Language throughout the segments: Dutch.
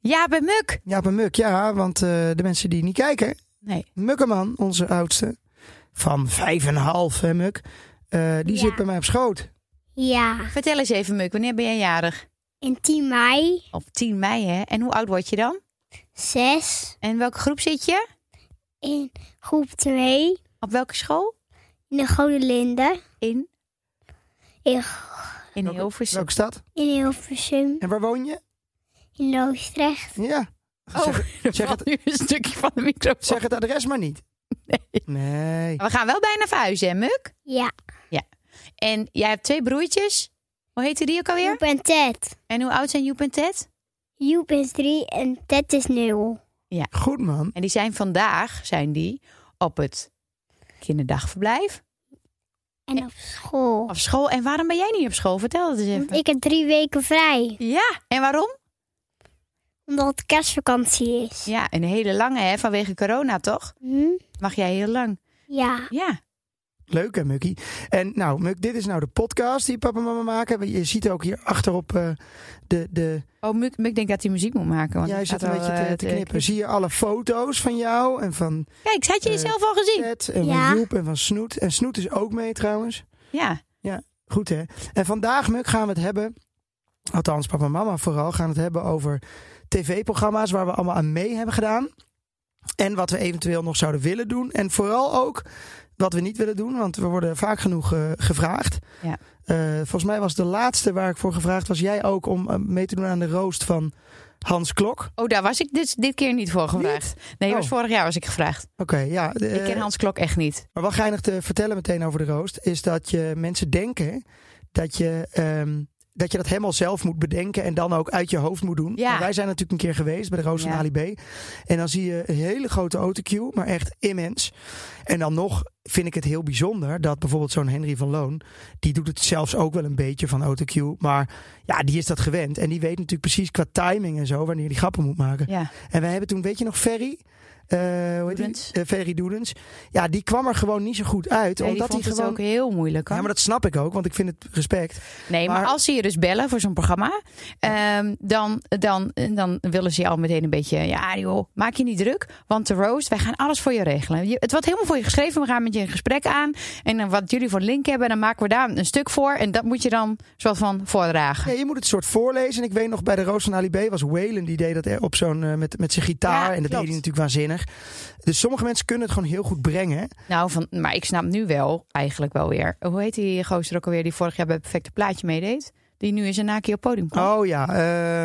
Ja, bij Muk. ja, bij Muk, ja, want eh, de mensen die niet kijken. Nee. Mukkeman, onze oudste, van vijf en een half, hè, Muk. eh, die Ja. zit bij mij op schoot. Ja, Vertel eens even, Muk, wanneer ben jij jarig? en 10 mei, Op 10 mei, hè? En hoe oud word je dan? 6, En in welke groep zit je? in groep 2, Op welke school? in de Gouden Linde, In? in, In Welke- Hilversum. Welke stad? in Hilversum, En waar woon je? in Loosdrecht. Ja. Oh, Zeg, er zeg valt nu een stukje van de microfoon. zeg het adres maar niet. Nee. Nee. We gaan wel bijna verhuizen, hè, Muk? Ja, En jij hebt twee broertjes. Hoe heette die ook alweer? Joep en Ted. En hoe oud zijn Joep en Ted? Joep is 3 en Ted is 0. Goed, man. En die zijn vandaag, zijn die, op het kinderdagverblijf. En op school. Op school. En waarom ben jij niet op school? Vertel dat eens Want even. ik heb drie weken vrij, Ja, en waarom? omdat het kerstvakantie is. Ja, een hele lange, hè, vanwege corona, toch? Hm? Mag jij heel lang. Ja, Ja. Leuk hè, Mukkie? En nou, Muk, dit is nou de podcast die papa en mama maken. Je ziet ook hier achterop eh, de... de Oh, Muk, Muk denkt dat hij muziek moet maken. Want jij ik zit een had al, beetje eh, te, te knippen. Zie je alle foto's van jou en van Kijk, had je Eh, jezelf al gezien? Ted en Ja. van Joep en van Snoet. En Snoet is ook mee trouwens. Ja. Goed hè? En vandaag, Muk, gaan we het hebben... Althans, papa en mama vooral gaan het hebben over tv-programma's waar we allemaal aan mee hebben gedaan. En wat we eventueel nog zouden willen doen. En vooral ook wat we niet willen doen, want we worden vaak genoeg eh, gevraagd. Ja. Eh, volgens mij was de laatste waar ik voor gevraagd was jij ook om eh, mee te doen aan de roost van Hans Klok. Oké, Oh, daar was ik dus dit keer niet voor gevraagd. Nee, Oh. was vorig jaar was ik gevraagd. ja. eh, de- ik ken Hans Klok echt niet. Maar wat geinig te vertellen meteen over de roost is dat je mensen denken dat je, ehm, dat je dat helemaal zelf moet bedenken en dan ook uit je hoofd moet doen. Ja. En wij zijn natuurlijk een keer geweest bij de roost Ja. van Ali B. En dan zie je een hele grote autocue, maar echt immens. En dan nog vind ik het heel bijzonder dat bijvoorbeeld zo'n Henry van Loon, die doet het zelfs ook wel een beetje van autocue, maar ja, die is dat gewend. En die weet natuurlijk precies qua timing en zo wanneer die grappen moet maken. Ja. En wij hebben toen, weet je nog, Ferry? Eh, hoe heet die? Doedens. Eh, Ferry Doedens. Ja, die kwam er gewoon niet zo goed uit. Nee, omdat die hij vond het gewoon. ook heel moeilijk. hoor. Ja, maar dat snap ik ook, want ik vind het respect. nee, maar, maar- als ze je dus bellen voor zo'n programma, ehm, dan, dan, dan willen ze je al meteen een beetje... Ja, joh, maak je niet druk, want de roast, wij gaan alles voor je regelen. Je- het wordt helemaal voor je geschreven, we gaan met je een gesprek aan. En dan wat jullie voor link hebben, dan maken we daar een stuk voor. En dat moet je dan soort van voordragen. Nee, je moet het soort voorlezen. En ik weet nog, bij de Roos van Ali B was Waylon die deed dat er op zo'n, eh, met, met zijn gitaar. Ja, en dat klopt. deed hij natuurlijk waanzinnig. Dus sommige mensen kunnen het gewoon heel goed brengen. Nou, van, maar ik snap nu wel eigenlijk wel weer. Hoe heet die gozer ook alweer die vorig jaar bij het Perfecte Plaatje meedeed? Die nu in een naakje op het podium komt. Oh ja,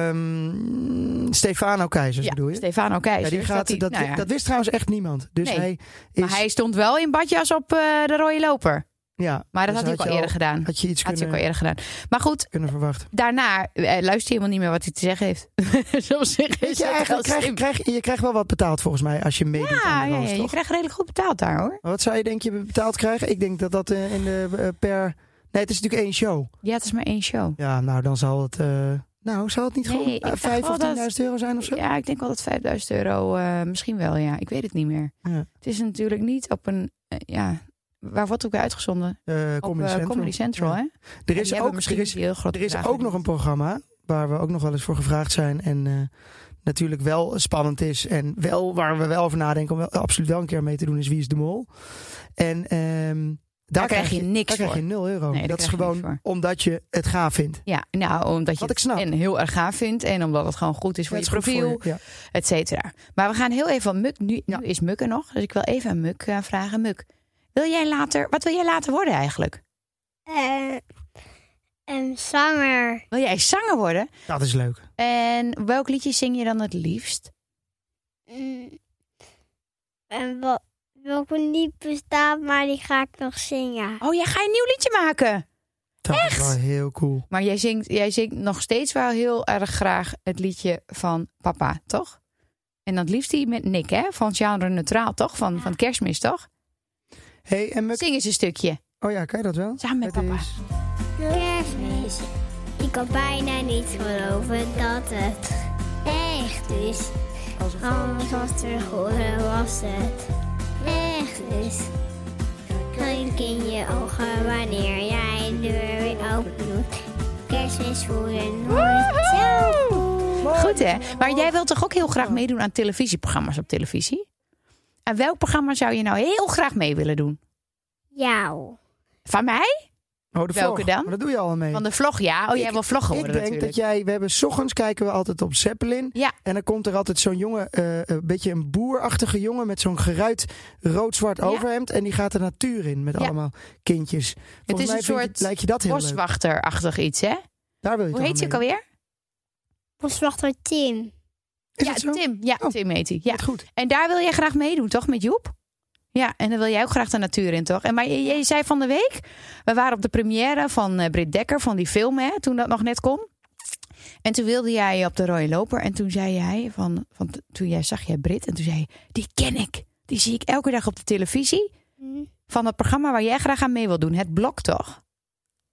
ehm, Stefano Keizers ja, bedoel je? Stefano Keijzer. ja, die gaat, dat, nou ja. dat wist trouwens echt niemand. Dus Nee, hij is, Maar hij stond wel in badjas op eh, de rode loper. ja, Maar dat dus had hij ook al je eerder gedaan. Had je iets Had hij ook al kunnen, eerder gedaan. Maar goed, kunnen verwachten. daarna eh, luistert hij helemaal niet meer wat hij te zeggen heeft. Soms zeggen Weet je, eigenlijk krijg, krijg- je krijgt wel wat betaald volgens mij als je meedoet ja, aan de ja, roos, ja, je toch? krijgt redelijk goed betaald daar hoor. Wat zou je denk je betaald krijgen? Ik denk dat dat eh, in de eh, per... Nee, het is natuurlijk één show. Ja, het is maar één show. Ja, nou dan zal het... eh, Nou, zal het niet Nee, gewoon ik dacht vijf wel of 10.000 dat- euro zijn of zo? Ja, ik denk wel dat 5000 euro eh, misschien wel, ja. Ik weet het niet meer. Ja. Het is natuurlijk niet op een, eh, ja, waar wordt ook weer uitgezonden? Eh, op Comedy eh, Central. Comedy Central, Ja. hè? Er Die is, hebben ook, misschien er is, niet heel grote er is bedragen ook nog een programma waar we ook nog wel eens voor gevraagd zijn. En eh, natuurlijk wel spannend is. En wel waar we wel over nadenken om wel, absoluut wel een keer mee te doen is Wie is de Mol. En ehm, daar, krijg je niks Daar krijg je 0 euro. Nee, daar dat is krijg je niks gewoon voor. omdat je het gaaf vindt. Ja, nou, omdat je Wat ik het snap. en heel erg gaaf vindt en omdat het gewoon goed is voor Ja, je het is goed profiel, voor je, ja. et cetera. Maar we gaan heel even aan Muk, nu, Ja. nu is Muk er nog, dus ik wil even aan Muk eh, vragen. Muk, wil jij later, wat wil jij later worden eigenlijk? Eh, Een zanger. Wil jij zanger worden? Dat is leuk. En welk liedje zing je dan het liefst? Mm. En wat, welke niet bestaat, maar die ga ik nog zingen. Oh, jij gaat een nieuw liedje maken. Dat is wel heel cool. Maar jij zingt, jij zingt nog steeds wel heel erg graag het liedje van papa, toch? En dat liefst die met Nick, hè? Van genre neutraal, toch? Van, van kerstmis, toch? hey, en Muk... Zing eens een stukje. Oh ja, kan je dat wel? Samen met Het papa. is- Kerstmis. Ik kan bijna niet geloven dat het echt is. Alles wat er horen was het echt is. Kijk in je ogen wanneer jij de deur weer open doet. Kerstmis voelen nooit zo goed. Goed, hè? Maar jij wilt toch ook heel graag meedoen aan televisieprogramma's op televisie? En welk programma zou je nou heel graag mee willen doen? Jou. Van mij? Oh, de Welke vlog. dan? Maar dat doe je al mee. Van de vlog, ja. Oh, jij wil vloggen Ik worden denk natuurlijk. dat jij... We hebben... S ochtends kijken we altijd op Zeppelin. Ja. En dan komt er altijd zo'n jongen, eh, een beetje een boerachtige jongen... met zo'n geruit rood-zwart Ja. overhemd. En die gaat de natuur in met Ja. allemaal kindjes. Volgens Het is mij een vind je- soort lijkt je dat heel leuk. Boswachterachtig iets, hè? Daar wil je Hoe toch heet aan hij ook meedoen. alweer? Boswachter Tim. Is ja, het zo? Tim. Ja, Oh. Tim heet hij. Ja. Wat goed. En daar wil jij graag meedoen, toch, met Joep? Ja, en dan wil jij ook graag de natuur in, toch? En maar je, je zei van de week, we waren op de première van eh, Britt Dekker, van die film, hè, toen dat nog net kon. En toen wilde jij op de rode loper en toen zei jij van, van toen jij zag jij Britt en toen zei je, die ken ik, die zie ik elke dag op de televisie van dat programma waar jij graag aan mee wil doen, het blok toch?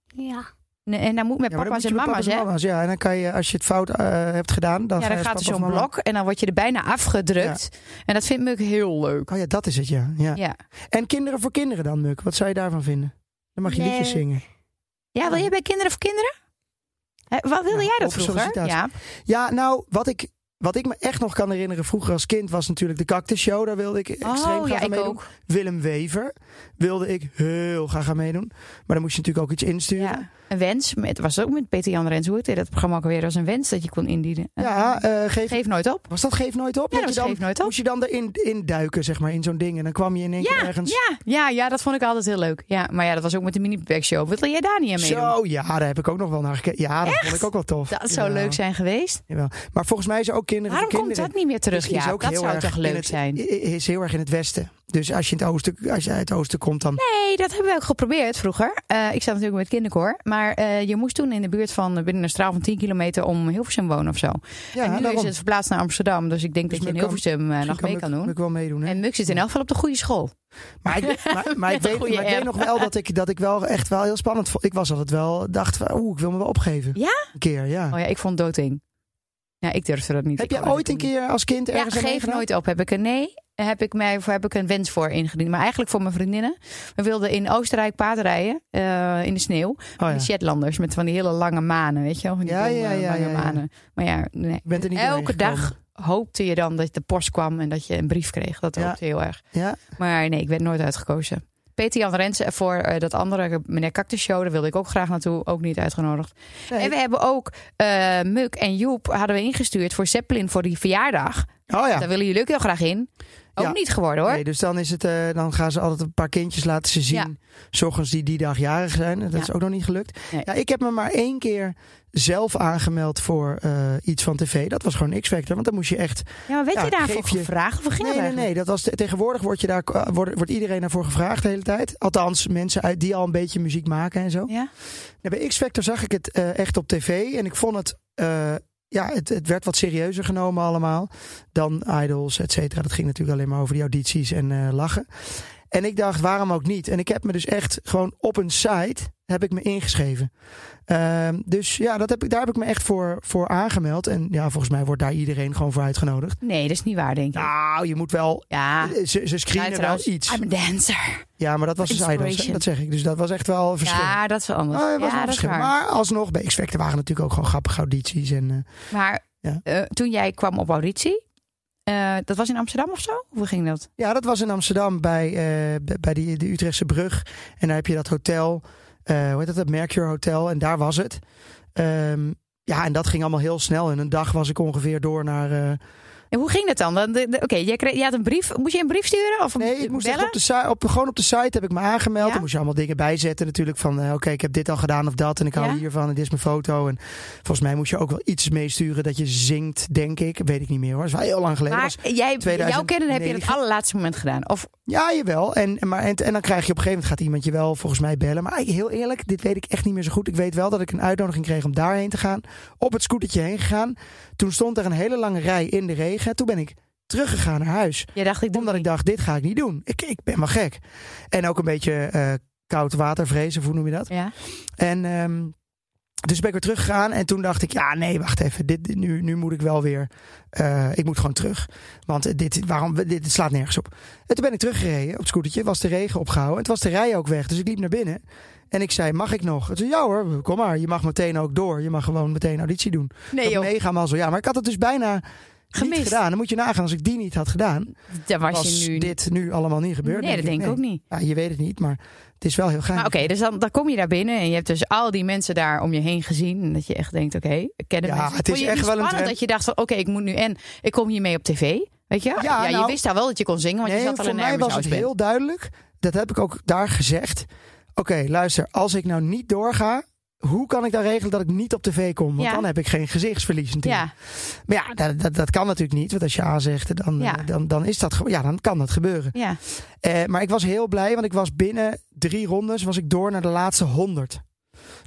Ja. Nee, En dan moet met Ja, maar dan papa's moet en je met mama's, papa's en hè? mama's, Ja, en dan kan je, als je het fout eh, hebt gedaan... Dan Ja, dan gaat er dus zo'n blok en dan word je er bijna afgedrukt. En dat vindt Muk heel leuk. Oh ja, dat is het, ja. ja. Ja. En kinderen voor kinderen dan, Muk. Wat zou je daarvan vinden? Dan mag je Nee. liedjes zingen. Ja, wil jij bij Kinderen voor Kinderen? Hè, Wat Ehm, wilde Ja, jij dat op een vroeger? sollicitatie. Ja. Ja, nou, wat ik, wat ik me echt nog kan herinneren vroeger als kind... was natuurlijk de Cactus Show. Daar wilde ik extreem graag Oh, ja, aan ik meedoen. ook. Willem Wever wilde ik heel graag aan meedoen. Maar dan moest je natuurlijk ook iets insturen. Ja, Ja. Een wens. Het was ook met Peter Jan Rens. Hoe heette dat programma ook alweer? Dat was een wens dat je kon indienen. eh, geef, Geef nooit op. was dat Geef Nooit Op? Ja, dat je was dan, Geef Nooit Op. Moest je dan erin in duiken, zeg maar, in zo'n ding. En dan kwam je in één Ja, keer ergens... Ja, ja, ja, dat vond ik altijd heel leuk. Ja, maar ja, dat was ook met de mini show. Wil jij daar niet aan meedoen? Zo, ja, daar heb ik ook nog wel naar gekeken. Ja, dat vond ik ook wel tof. Dat zou Jawel, leuk zijn geweest. jawel. Maar volgens mij is ook kinderen Waarom voor komt kinderen... dat niet meer terug? is- is Ja, ook dat heel zou erg toch in leuk het- zijn? i- i- is heel erg in het westen. Dus als je, in het oosten, als je uit het oosten komt, dan... Nee, dat hebben we ook geprobeerd vroeger. Eh, ik zat natuurlijk met kinderkoor. Maar eh, je moest toen in de buurt van eh, binnen een straal van 10 kilometer om Hilversum wonen of zo. ja, en nu is het verplaatst naar Amsterdam. Dus ik denk Dus dat je in men kan- Hilversum eh, nog Misschien mee kan Muk- doen. Muk wel meedoen, hè? En Muk zit in elk geval op de goede school. Maar ik, maar, maar ik, Met een weet, goede maar ik weet app. nog wel dat ik, dat ik wel echt wel heel spannend vond. Ik was altijd wel, dacht van, oeh, ik wil me wel opgeven. Ja? Een keer, ja. Oh ja, ik vond doodeng. Ja, ik durfde dat niet. Heb Ik je kon ooit dat een niet. keer als kind Ja, ergens aan geef meegedaan? nooit op. Heb ik een nee? Heb ik, mij, heb ik een wens voor ingediend. Maar eigenlijk voor mijn vriendinnen. We wilden in Oostenrijk paard rijden. eh, in de sneeuw. Oh, Die ja. Shetlanders met van die hele lange manen, weet je wel? Van die Ja, domme, ja, ja, lange ja, ja. manen. Maar ja, nee. bent er niet Elke doorheen dag hoopte je dan dat de post kwam en dat je een brief kreeg. Dat Ja. hoopte heel erg. Ja? Maar nee, ik werd nooit uitgekozen. Peter Jan Rensen voor eh, dat andere meneer Cactus Show, daar wilde ik ook graag naartoe, ook niet uitgenodigd. Nee. En we hebben ook eh Muk en Joep hadden we ingestuurd voor Zeppelin voor die verjaardag. Oh ja. Daar willen jullie ook heel graag in. Ook Ja. niet geworden hoor. Nee, dus dan, is het, eh, dan gaan ze altijd een paar kindjes laten ze Ja. zien. S ochtends die die dag jarig zijn. Dat Ja. is ook nog niet gelukt. Nee. Ja, ik heb me maar één keer zelf aangemeld voor eh, iets van tv. Dat was gewoon X-Factor. Want dan moest je echt... ja, maar werd Ja, je daarvoor geef je- gevraagd? Of ging Nee, het nee, nee. Dat was te- tegenwoordig wordt, je daar, eh, wordt, wordt iedereen daarvoor gevraagd de hele tijd. Althans, mensen uit die al een beetje muziek maken en zo. eigenlijk? Ja? Ja, bij X-Factor zag ik het eh, echt op tv. En ik vond het... eh, ja, het, het werd wat serieuzer genomen allemaal. Dan idols, et cetera. Dat ging natuurlijk alleen maar over die audities en eh, lachen. En ik dacht, waarom ook niet? En ik heb me dus echt gewoon op een site... heb ik me ingeschreven. Ehm, dus ja, dat heb ik, daar heb ik me echt voor, voor aangemeld. En ja, volgens mij wordt daar iedereen gewoon voor uitgenodigd. Nee, dat is niet waar, denk ik. Nou, je moet wel... ja. Ze, ze Ja, screenen wel trouwens, iets. I'm a dancer. Ja, maar dat was dus idols. hè? Inspiration. Dat zeg ik. Dus dat was echt wel een verschil. Ja, dat is wel anders. Ah, ja, er was wel dat is verschil. waar. Maar, Maar alsnog, bij X-Factor waren natuurlijk ook gewoon grappige audities. En, eh, Ja. eh, toen jij kwam op auditie, eh, dat was in Amsterdam of zo? Hoe ging dat? ja, dat was in Amsterdam bij, eh, bij- bij die, de Utrechtse brug. En daar heb je dat hotel, eh, hoe heet dat, het Mercure Hotel. En daar was het. Ehm, ja, en dat ging allemaal heel snel. In een dag was ik ongeveer door naar, eh, En hoe ging dat dan? dan de- de- Oké, jij, kreeg- jij had een brief. Moest je een brief sturen? Of Nee, ik moest echt bellen? op de site, op, gewoon op de site heb ik me aangemeld. Ja? Dan moest je allemaal dingen bijzetten natuurlijk. Van eh, oké, ik heb dit al gedaan of dat. En ik hou Ja? hiervan en dit is mijn foto. En volgens mij moest je ook wel iets meesturen dat je zingt, denk ik. Weet ik niet meer hoor. Dat is wel heel lang geleden. Maar Was- jij, jouw 2009. kennen heb je het allerlaatste moment gedaan. Of Ja, jawel. En, en maar, en, en dan krijg je op een gegeven moment gaat iemand je wel volgens mij bellen. Maar heel eerlijk, dit weet ik echt niet meer zo goed. Ik weet wel dat ik een uitnodiging kreeg om daarheen te gaan. Op het scootertje heen gegaan. Toen stond er een hele lange rij in de regen. Toen ben ik teruggegaan naar huis. jij dacht, ik doe Omdat ik niet. dacht, dit ga ik niet doen. Ik, ik ben wel gek. En ook een beetje eh, koud watervrees, of hoe noem je dat? Ja. En ehm, dus ben ik weer teruggegaan. En toen dacht ik, ja, nee, wacht even. Dit, dit- nu, nu moet ik wel weer. eh, ik moet gewoon terug. Want dit, waarom, dit, dit slaat nergens op. En toen ben ik teruggereden op het scootertje. Was de regen opgehouden. Het was de rij ook weg. Dus ik liep naar binnen. En ik zei, mag ik nog? Het zei, ja hoor, kom maar. Je mag meteen ook door. Je mag gewoon meteen auditie doen. Nee dat joh, mega mazzel. Ja, maar ik had het dus bijna Gemist. niet gedaan. Dan moet je nagaan, als ik die niet had gedaan daar was, was je nu niet. dit nu allemaal niet gebeurd. Nee, dat denk ik ook niet. Ja, je weet het niet, maar het is wel heel gaaf. Maar oké, dus dan, dan kom je daar binnen en je hebt dus al die mensen daar om je heen gezien. En dat je echt denkt, oké, ik ken de Ja, mensen. het is Vond je echt niet wel een spannend trend. dat je dacht van, oké, ik moet nu en ik kom hiermee op tv. Weet je? Ja, je nou- wist daar wel dat je kon zingen, want je nee, zat al voor in mij was het Hermes heel duidelijk. Dat heb ik ook daar gezegd. Oké, luister, als ik nou niet doorga, hoe kan ik dan regelen dat ik niet op tv kom? Want Ja. dan heb ik geen gezichtsverlies natuurlijk. Ja, Maar ja, dat, dat, dat kan natuurlijk niet. Want als je A zegt, dan, eh, Ja. dan, dan, is dat, ge- ja, dan kan dat gebeuren. ja. Eh, maar ik was heel blij, want ik was binnen drie rondes was ik door naar de laatste honderd.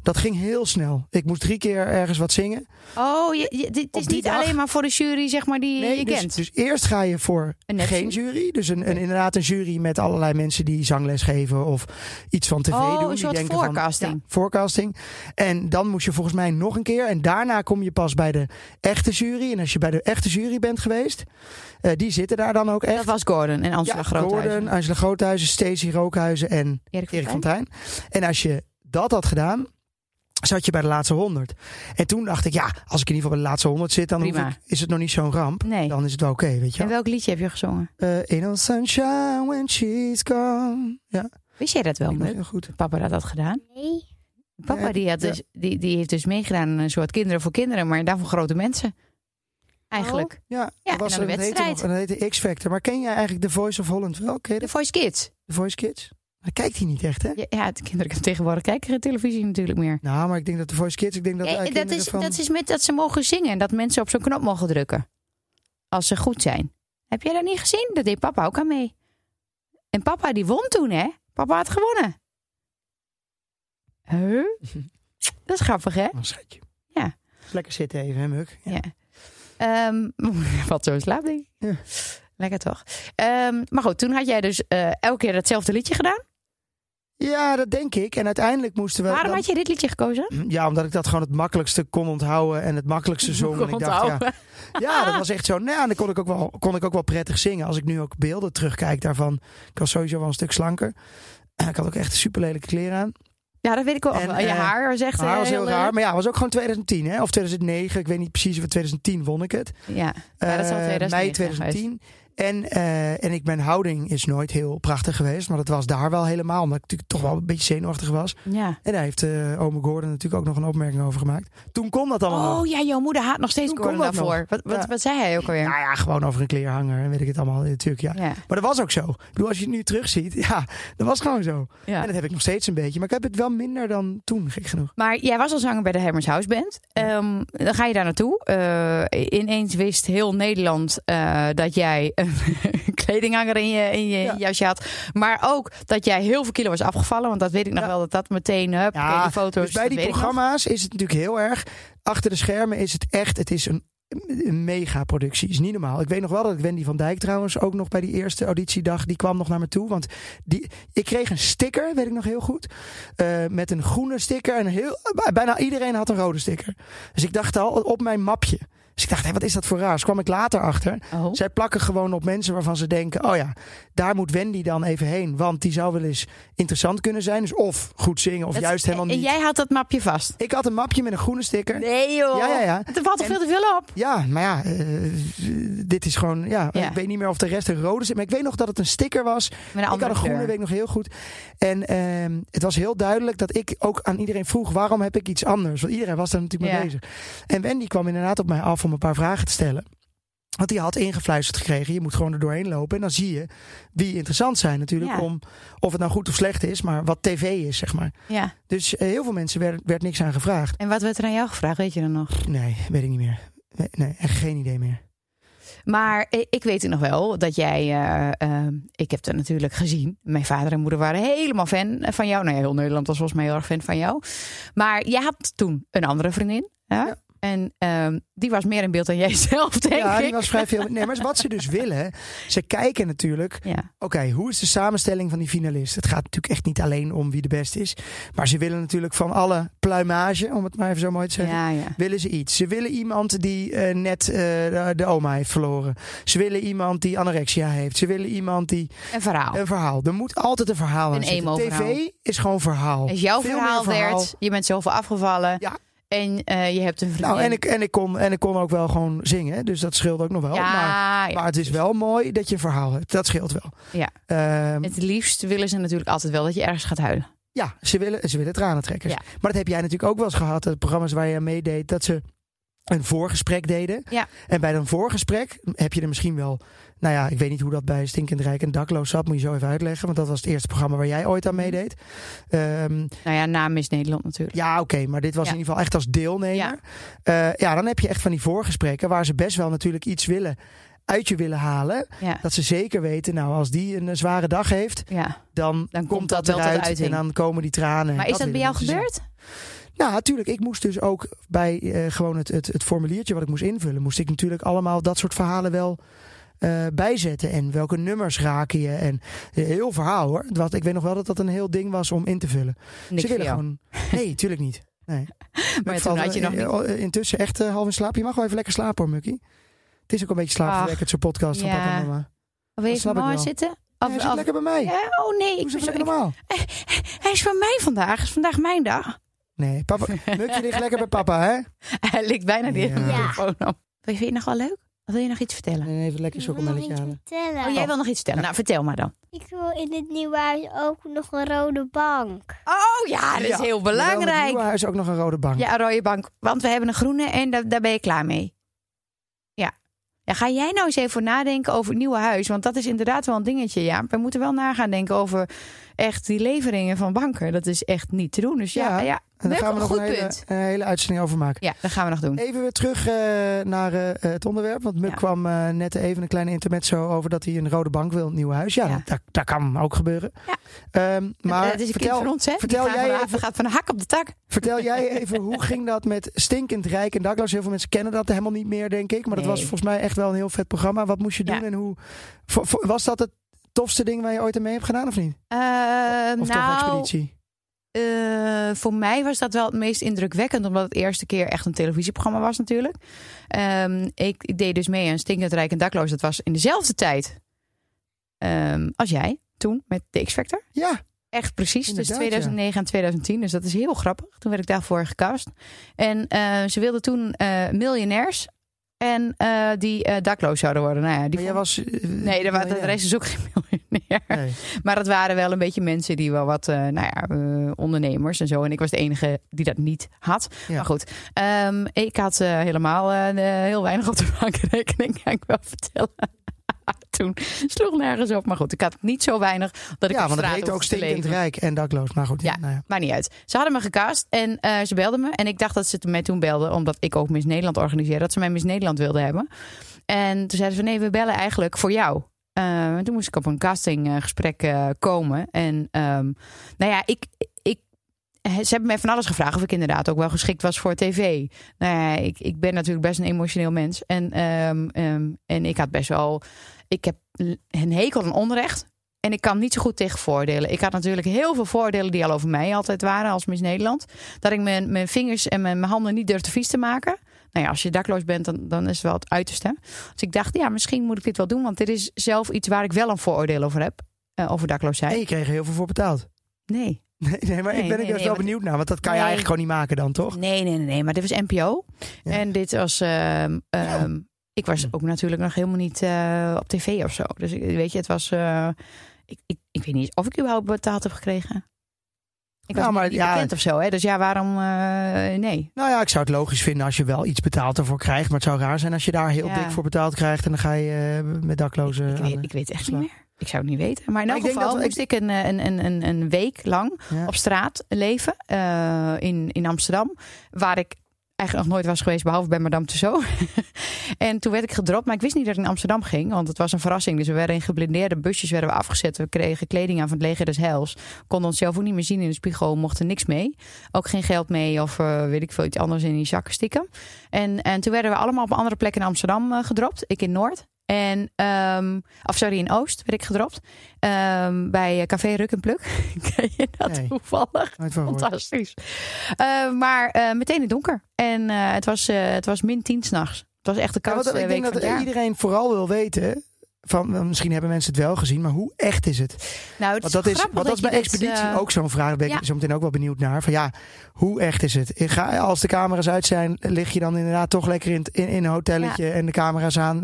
Dat ging heel snel. Ik moest drie keer ergens wat zingen. Oh, je, je- dit is die niet dag- alleen maar voor de jury, zeg maar, die je dus, kent. dus eerst ga je voor Een net geen jury. Dus een, een, inderdaad een jury met allerlei mensen die zangles geven of iets van tv Oh, doen. een die soort denken forecasting. Van, ja, forecasting. En dan moest je volgens mij nog een keer. En daarna kom je pas bij de echte jury. En als je bij de echte jury bent geweest, eh, die zitten daar dan ook echt. dat was Gordon en Angela ja, Groothuizen. Gordon, Angela Groothuizen, Stacey Rookhuizen en Erik van Erik Tijn. Fontijn. En als je dat had gedaan, zat je bij de laatste 100. En toen dacht ik, ja, als ik in ieder geval bij de laatste 100 zit, dan hoef Prima. ik, is het nog niet zo'n ramp. Nee. Dan is het wel oké, weet je. wel. En welk liedje heb je gezongen? Eh, in all sunshine when she's gone. Ja, Wist jij dat wel, die was Meuk? heel goed. Papa had dat gedaan. Nee. Papa Ja, die, had ja. dus, die, die heeft dus meegedaan aan een soort kinderen voor kinderen, maar daarvoor grote mensen. Eigenlijk. Ja, Ja, dat was, en dan de dat heette, wedstrijd. nog- dat heette X-Factor. Maar ken jij eigenlijk The Voice of Holland wel? Ken je De dat? Voice Kids. The Voice Kids? Maar kijkt hij niet echt, hè? Ja, ja, de kinderen kunnen tegenwoordig kijken geen televisie natuurlijk meer. Nou, maar ik denk dat The Voice Kids, ik denk dat Ja, daar Eh, Dat, kinderen is, van... dat is met dat ze mogen zingen en dat mensen op zo'n knop mogen drukken. Als ze goed zijn. Heb jij dat niet gezien? Dat deed papa ook aan mee. En papa die won toen, hè? Papa had gewonnen. Huh? Dat is grappig, hè? Oh, schatje. Ja. Lekker zitten even, hè, Muk? Ja. Ehm, wat zo in slaap, denk ik. Ja. Lekker toch? Ehm, maar goed, toen had jij dus eh, elke keer datzelfde liedje gedaan. Ja, dat denk ik. En uiteindelijk moesten we... Waarom dan- had je dit liedje gekozen? Ja, omdat ik dat gewoon het makkelijkste kon onthouden en het makkelijkste zong. En ik dacht, ja, Onthouden. ja, dat was echt zo. Nou, ja, en dan kon ik, ook wel, kon ik ook wel prettig zingen. Als ik nu ook beelden terugkijk daarvan. Ik was sowieso wel een stuk slanker. En ik had ook echt super lelijke kleren aan. Ja, dat weet ik wel. En, je eh, haar was echt Mijn haar was eh, heel raar. Maar ja, het was ook gewoon 2010 hè? of 2009. Ik weet niet precies of het 2010 won ik het. Ja, ja, dat is al Eh, 2009 mei geweest. 2010. En, eh, en ik, mijn houding is nooit heel prachtig geweest. Maar dat was daar wel helemaal. Omdat ik natuurlijk toch wel een beetje zenuwachtig was. Ja. En daar heeft eh ome Gordon natuurlijk ook nog een opmerking over gemaakt. Toen kon dat allemaal. nog. Oh ja, jouw moeder haat nog steeds Toen Gordon kon dat daarvoor. nog. Wat, wat, Ja. wat zei hij ook alweer? Nou ja, gewoon over een kleerhanger en weet ik het allemaal. Natuurlijk, ja. Ja. Maar dat was ook zo. Ik bedoel, als je het nu terugziet, ja, dat was gewoon zo. Ja. En dat heb ik nog steeds een beetje. Maar ik heb het wel minder dan toen, gek genoeg. Maar jij was al zanger bij de Hammers House Band. Ehm, dan ga je daar naartoe. Eh, ineens wist heel Nederland eh, dat jij een kledinghanger in je, in je Ja. jasje had. Maar ook dat jij heel veel kilo was afgevallen. Want dat weet ik nog Ja. wel, dat dat meteen... Hup, Ja, oké, die foto's, dus bij dat die weet ik nog. programma's is het natuurlijk heel erg. Achter de schermen is het echt, het is een, een megaproductie. is niet normaal. Ik weet nog wel dat ik Wendy van Dijk trouwens ook nog bij die eerste auditiedag, die kwam nog naar me toe. Want die, ik kreeg een sticker, weet ik nog heel goed. eh, met een groene sticker en heel, eh, bijna iedereen had een rode sticker. Dus ik dacht al op mijn mapje. Dus ik dacht, hé, wat is dat voor raars? Kwam ik later achter. Oh. Zij plakken gewoon op mensen waarvan ze denken: oh ja, daar moet Wendy dan even heen. Want die zou wel eens interessant kunnen zijn. Dus of goed zingen, of Dat- juist helemaal En niet. jij had dat mapje vast. Ik had een mapje met een groene sticker. Nee joh. Ja, ja, ja. Er valt toch veel te veel op? Ja, maar ja, eh, dit is gewoon. Ja, Ja. ik weet niet meer of de rest een rode zit. Maar ik weet nog dat het een sticker was. Met een ik had andere een groene, kleur. weet ik nog heel goed. En ehm, het was heel duidelijk dat ik ook aan iedereen vroeg: waarom heb ik iets anders? Want iedereen was daar natuurlijk mee Ja. bezig. En Wendy kwam inderdaad op mij af om een paar vragen te stellen. Want die had ingefluisterd gekregen. Je moet gewoon er doorheen lopen. En dan zie je wie interessant zijn natuurlijk. Ja. Om, of het nou goed of slecht is, maar wat tv is, zeg maar. Ja. Dus eh, heel veel mensen werd, werd niks aan gevraagd. En wat werd er aan jou gevraagd, weet je dan nog? Nee, weet ik niet meer. Nee, Nee, echt geen idee meer. Maar i- ik weet het nog wel dat jij. eh, ehm, ik heb het natuurlijk gezien. Mijn vader en moeder waren helemaal fan van jou. Nou ja, heel Nederland was volgens mij heel erg fan van jou. Maar jij had toen een andere vriendin. Hè? En ehm, die was meer in beeld dan jij zelf, denk ja, die ik. was vrij veel. Nee, maar wat ze dus willen, ze kijken natuurlijk. Ja. Oké, hoe is de samenstelling van die finalist? Het gaat natuurlijk echt niet alleen om wie de beste is. Maar ze willen natuurlijk van alle pluimage, om het maar even zo mooi te zeggen. Ja, ja. willen ze iets. Ze willen iemand die eh, net eh, de, de oma heeft verloren. Ze willen iemand die anorexia heeft. Ze willen iemand die Een verhaal. een verhaal. Er moet altijd een verhaal Een aan zitten. emo-verhaal. TV is gewoon verhaal. Als jouw Veel meer verhaal, werd, je bent zoveel afgevallen. Ja. En eh, je hebt een vriendin. Nou, en ik, en, ik kon, en ik kon ook wel gewoon zingen, dus dat scheelt ook nog wel. ja, Maar, ja. dus maar het is wel mooi dat je een verhaal hebt. Dat scheelt wel. Ja. Ehm, het liefst willen ze natuurlijk altijd wel dat je ergens gaat huilen. Ja, ze willen, ze willen tranentrekkers. Ja. Maar dat heb jij natuurlijk ook wel eens gehad. De programma's waar je aan meedeed, dat ze een voorgesprek deden. Ja. En bij dat voorgesprek heb je er misschien wel... Nou ja, ik weet niet hoe dat bij Stinkend Rijk en Dakloos zat. Moet je zo even uitleggen. Want dat was het eerste programma waar jij ooit aan Mhm. meedeed. Ehm, Nou ja, naam is Nederland natuurlijk. ja, oké. maar dit was Ja. in ieder geval echt als deelnemer. Ja. Ja. ja, dan heb je echt van die voorgesprekken... waar ze best wel natuurlijk iets willen uit je willen halen. Ja. Dat ze zeker weten, nou, als die een eh, zware dag heeft... ja. dan, komt, dat, wel tot eruit uiting. en dan komen die tranen. Maar is dat bij willen jou mensen zien. gebeurd? Nou, natuurlijk. Ik moest dus ook bij eh, gewoon het, het, het formuliertje wat ik moest invullen, moest ik natuurlijk allemaal dat soort verhalen wel eh, bijzetten. En welke nummers raken je? En eh, heel verhaal hoor. Wat, ik weet nog wel dat dat een heel ding was om in te vullen. Niks Ze voor willen jou. gewoon. Nee, tuurlijk niet. Nee. Maar Ik toen val, had je eh, nog niet... eh, Intussen echt eh, half in slaap. Je mag wel even lekker slapen hoor, Mukkie. Het is ook een beetje slaapverwekkend, zo'n podcast van ja. papa en mama. Wil je snap ik even mooi wel. zitten? Of, Of, hij zit of- lekker bij mij. Ja, oh nee, Doe ik, eens even ik- lekker normaal. hij is van mij vandaag. Het is vandaag mijn dag. Nee, papa, Mukkie ligt lekker bij papa, hè? Hij ligt bijna die Ja. microfoon op. Vind je het nog wel leuk? Of wil je nog iets vertellen? En even lekker Ik wil nog chocomelletje iets halen. vertellen. Oh, jij wil nog iets vertellen? Nou, vertel maar dan. Ik wil in het nieuwe huis ook nog een rode bank. Oh ja, dat is Ja. heel Jawel, in het belangrijk. nieuwe huis ook nog een rode bank. Ja, een rode bank. Want we hebben een groene en da- daar ben je klaar mee. Ja. ja. Ga jij nou eens even voor nadenken over het nieuwe huis? Want dat is inderdaad wel een dingetje, ja. We moeten wel nagaan denken over echt die leveringen van banken. Dat is echt niet te doen. Dus ja, Ja, ja, En daar leuk, gaan we nog goed een hele, punt. een hele uitzending over maken. Ja, dat gaan we nog doen. Even weer terug eh, naar eh, het onderwerp. Want Muk Ja. kwam eh, net even een kleine intermezzo over dat hij een rode bank wil, een nieuw huis. Ja, Ja. Dat, dat kan ook gebeuren. Ja. Ehm, maar dat Eh, is een kind vertel, van ons, hè? vertel die gaan jij vanaf- even- gaat van de hak op de tak. vertel jij even, hoe ging dat met Stinkend Rijk en Dakloos? Heel veel mensen kennen dat helemaal niet meer, denk ik. Maar dat Nee. was volgens mij echt wel een heel vet programma. Wat moest je doen Ja. en hoe... vo- vo- was dat het tofste ding waar je ooit aan mee hebt gedaan of niet? Eh, Of toch nou, Expeditie? eh, voor mij was dat wel het meest indrukwekkend, omdat het de eerste keer echt een televisieprogramma was natuurlijk. Ehm, ik, ik deed dus mee aan Stinkend Rijk en Dakloos. Dat was in dezelfde tijd ehm, als jij toen met de X-Factor. Ja, Echt precies, Inderdaad, dus 2009 en 2010. Dus dat is heel grappig. Toen werd ik daarvoor gecast. En eh, ze wilden toen eh, miljonairs en eh, die eh, dakloos zouden worden. Nou ja, die maar jij vond- was... eh, Nee, er waren, nou ja. de rest is dus ook geen miljonair. Nee. Maar het waren wel een beetje mensen die wel wat, eh, nou ja, eh, ondernemers en zo. En ik was de enige die dat niet had. Ja. Maar goed, ehm, ik had eh, helemaal eh, heel weinig op de bankrekening, kan ik wel vertellen. Toen sloeg nergens op. Maar goed, ik had niet zo weinig dat ik ja, op want het straat heette ook hoefde te stinkend leven. rijk en dakloos. Maar goed, ja. Ja. nou ja. Maakt niet uit. Ze hadden me gecast en eh, ze belden me. En ik dacht dat ze mij toen belden, omdat ik ook Miss Nederland organiseerde, dat ze mij Miss Nederland wilden hebben. En toen zeiden ze van nee, we bellen eigenlijk voor jou. Eh, toen moest ik op een castinggesprek eh, komen. En ehm, nou ja, ik, ik, ze hebben mij van alles gevraagd of ik inderdaad ook wel geschikt was voor tv. Nou ja, ik, ik ben natuurlijk best een emotioneel mens. En, ehm, ehm, en ik had best wel, ik heb een hekel aan onrecht. En ik kan niet zo goed tegen voordelen. Ik had natuurlijk heel veel voordelen die al over mij altijd waren als Miss Nederland. Dat ik mijn, mijn vingers en mijn, mijn handen niet durfde vies te maken. Nou ja, als je dakloos bent, dan, dan is het wel het uiterste. Dus ik dacht, ja, misschien moet ik dit wel doen. Want dit is zelf iets waar ik wel een vooroordeel over heb. eh, over dakloosheid. En je kreeg er heel veel voor betaald. Nee. Nee, nee maar Nee, ik ben nee, er best nee, wel want- benieuwd naar. Want dat kan je Nee. eigenlijk gewoon niet maken dan, toch? Nee, nee, nee, nee, maar dit was NPO. Ja. En dit was. ehm, ehm, ik was Hm. ook natuurlijk nog helemaal niet eh, op tv of zo. Dus ik- weet je, het was. eh, ik, ik, ik weet niet of ik überhaupt betaald heb gekregen. Ik was Ja, Nou, maar niet ja. bekend of zo, hè? Dus ja, waarom... eh, nee. Nou ja, ik zou het logisch vinden als je wel iets betaald ervoor krijgt. Maar het zou raar zijn als je daar heel Ja. dik voor betaald krijgt. En dan ga je eh, met daklozen Ik aan de- weet, ik weet echt slag. niet meer. Ik zou het niet weten. Maar in Maar elk ik denk geval dat we- moest ik een, eh, een, een, een, een week lang Ja. eh, op straat leven eh, in, in Amsterdam. Waar ik eigenlijk nog nooit was geweest, behalve bij Madame Tussauds. en toen werd ik gedropt, maar ik wist niet dat ik naar Amsterdam ging. Want het was een verrassing. Dus we werden in geblindeerde busjes werden we afgezet. We kregen kleding aan van het leger des heils. Konden onszelf ook niet meer zien in de spiegel. Mochten niks mee. Ook geen geld mee of eh, weet ik veel, iets anders in die zakken stikken. En, en toen werden we allemaal op andere plekken in Amsterdam eh, gedropt. Ik in Noord. En, ehm, of sorry, in Oost werd ik gedropt. Ehm, bij eh, Café Ruk en Pluk. Ken je dat Nee. Oh, toevallig? Nooit van gehoord. Fantastisch. Eh, maar eh, meteen in het donker. En eh, het, was, eh, het was min 10 s'nachts. Het was echt de Ja, want koudste ik eh, week denk van het dat jaar. iedereen vooral wil weten. Van, eh, misschien hebben mensen het wel gezien, maar hoe echt is het? Nou, het Want is dat is, grappig want dat is bij je dit, expeditie eh, ook zo'n vraag. Daar ben ik ja. zo meteen ook wel benieuwd naar. Van ja, hoe echt is het? Ga, als de camera's uit zijn, lig je dan inderdaad toch lekker in, het- in, in een hotelletje en de camera's aan.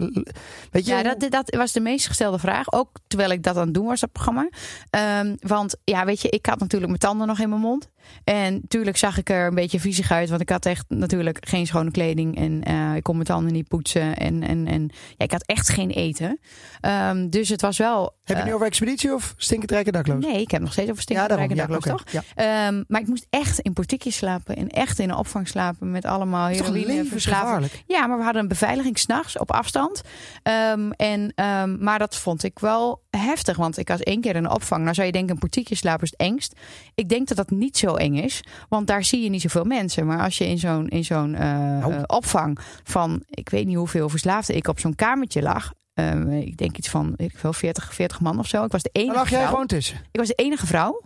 Weet je, Ja, dat, dat was de meest gestelde vraag. Ook terwijl ik dat aan het doen was, dat programma. Ehm, want ja, weet je, ik had natuurlijk mijn tanden nog in mijn mond. En tuurlijk zag ik er een beetje viezig uit. Want ik had echt natuurlijk geen schone kleding. En eh, ik kon mijn tanden niet poetsen. En, en, en ja, ik had echt geen eten. Ehm, dus het was wel... heb je het nu over expeditie of stinkend rijke dakloos? Nee, ik heb nog steeds over ja, stinkende daarom. rijke Ja, dakloos, oké. toch? Ja. Ehm, maar ik moest echt in portiekjes slapen. En echt in een opvang slapen. Met allemaal Het is toch heroïne, verslaafd levensgevaarlijk? ja, maar we hadden een beveiliging s'nachts op afstand. Ehm, en, ehm, maar dat vond ik wel heftig. Want ik was één keer in een opvang. Nou zou je denken, een portiekje slapen is het engst. Ik denk dat dat niet zo eng is. Want daar zie je niet zoveel mensen. Maar als je in zo'n in zo'n eh, Oh. eh, opvang van... ik weet niet hoeveel verslaafden ik op zo'n kamertje lag... Ehm, ik denk iets van weet ik veel, 40, 40 man of zo. Ik was de enige Daar lag jij vrouw. gewoon tussen. Ik was de enige vrouw.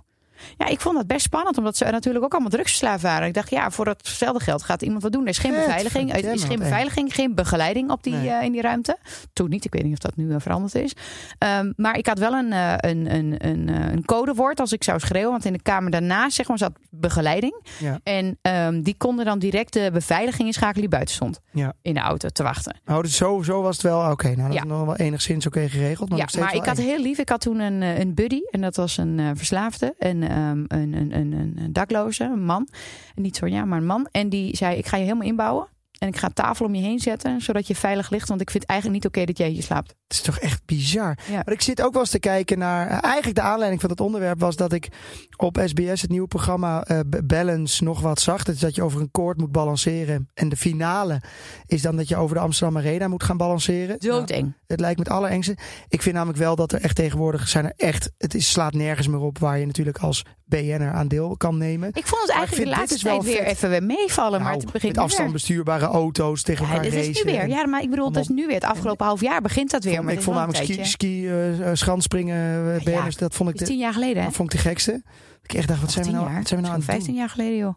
Ja, ik vond dat best spannend, omdat ze natuurlijk ook allemaal drugsverslaafd waren. Ik dacht, ja, voor datzelfde geld gaat iemand wat doen. Er is geen Vet, beveiliging, er is verdomme, geen, wat beveiliging geen begeleiding op die, Nee. eh, in die ruimte. Toen niet, ik weet niet of dat nu eh, veranderd is. Ehm, maar ik had wel een, eh, een, een, een, eh, een codewoord als ik zou schreeuwen. Want in de kamer daarna zeg maar, zat begeleiding. Ja. En ehm, die konden dan direct de beveiliging inschakelen die buiten stond. Ja. In de auto te wachten. Oh, dus zo, zo was het wel oké. nou, dat Ja. is nog wel enigszins oké geregeld. Maar, ja, nog steeds maar wel ik had eng. heel lief. Ik had toen een, eh, een buddy. En dat was een eh, verslaafde. En ehm, een, een, een, een, een dakloze, een man. Niet zo ja, maar een man. En die zei: Ik ga je helemaal inbouwen. En ik ga een tafel om je heen zetten. Zodat je veilig ligt. Want ik vind het eigenlijk niet oké dat jij hier slaapt. Het is toch echt bizar. Ja. Maar ik zit ook wel eens te kijken naar. eh, Eigenlijk de aanleiding van het onderwerp was dat ik op SBS het nieuwe programma eh, B- Balance nog wat zag. Dat is dat je over een koord moet balanceren. En de finale is dan dat je over de Amsterdam Arena moet gaan balanceren. Nou, Doodeng. Het lijkt me het allerengste. Ik vind namelijk wel dat er echt tegenwoordig zijn er echt. Het is, slaat nergens meer op waar je natuurlijk als BN'er aan deel kan nemen. Ik vond het Maar ik eigenlijk vind de dit laatste is wel tijd weer vet. even weer meevallen. maar Nou, het begint met nu afstand weer. bestuurbare auto's tegen Ja, elkaar dit is racen. nu weer. Ja, maar ik bedoel, het is nu weer. Het afgelopen half jaar begint dat weer. maar ik het vond is wel een namelijk ski, tijdje. ski eh, eh, schanspringen, eh, BN'ers, dat vond ik Het is de, tien jaar geleden, hè? dat vond ik de gekste. Ik echt dacht, wat Of zijn we tien nou, jaar. wat zijn we nou aan Zo'n het doen? 15 jaar geleden, joh.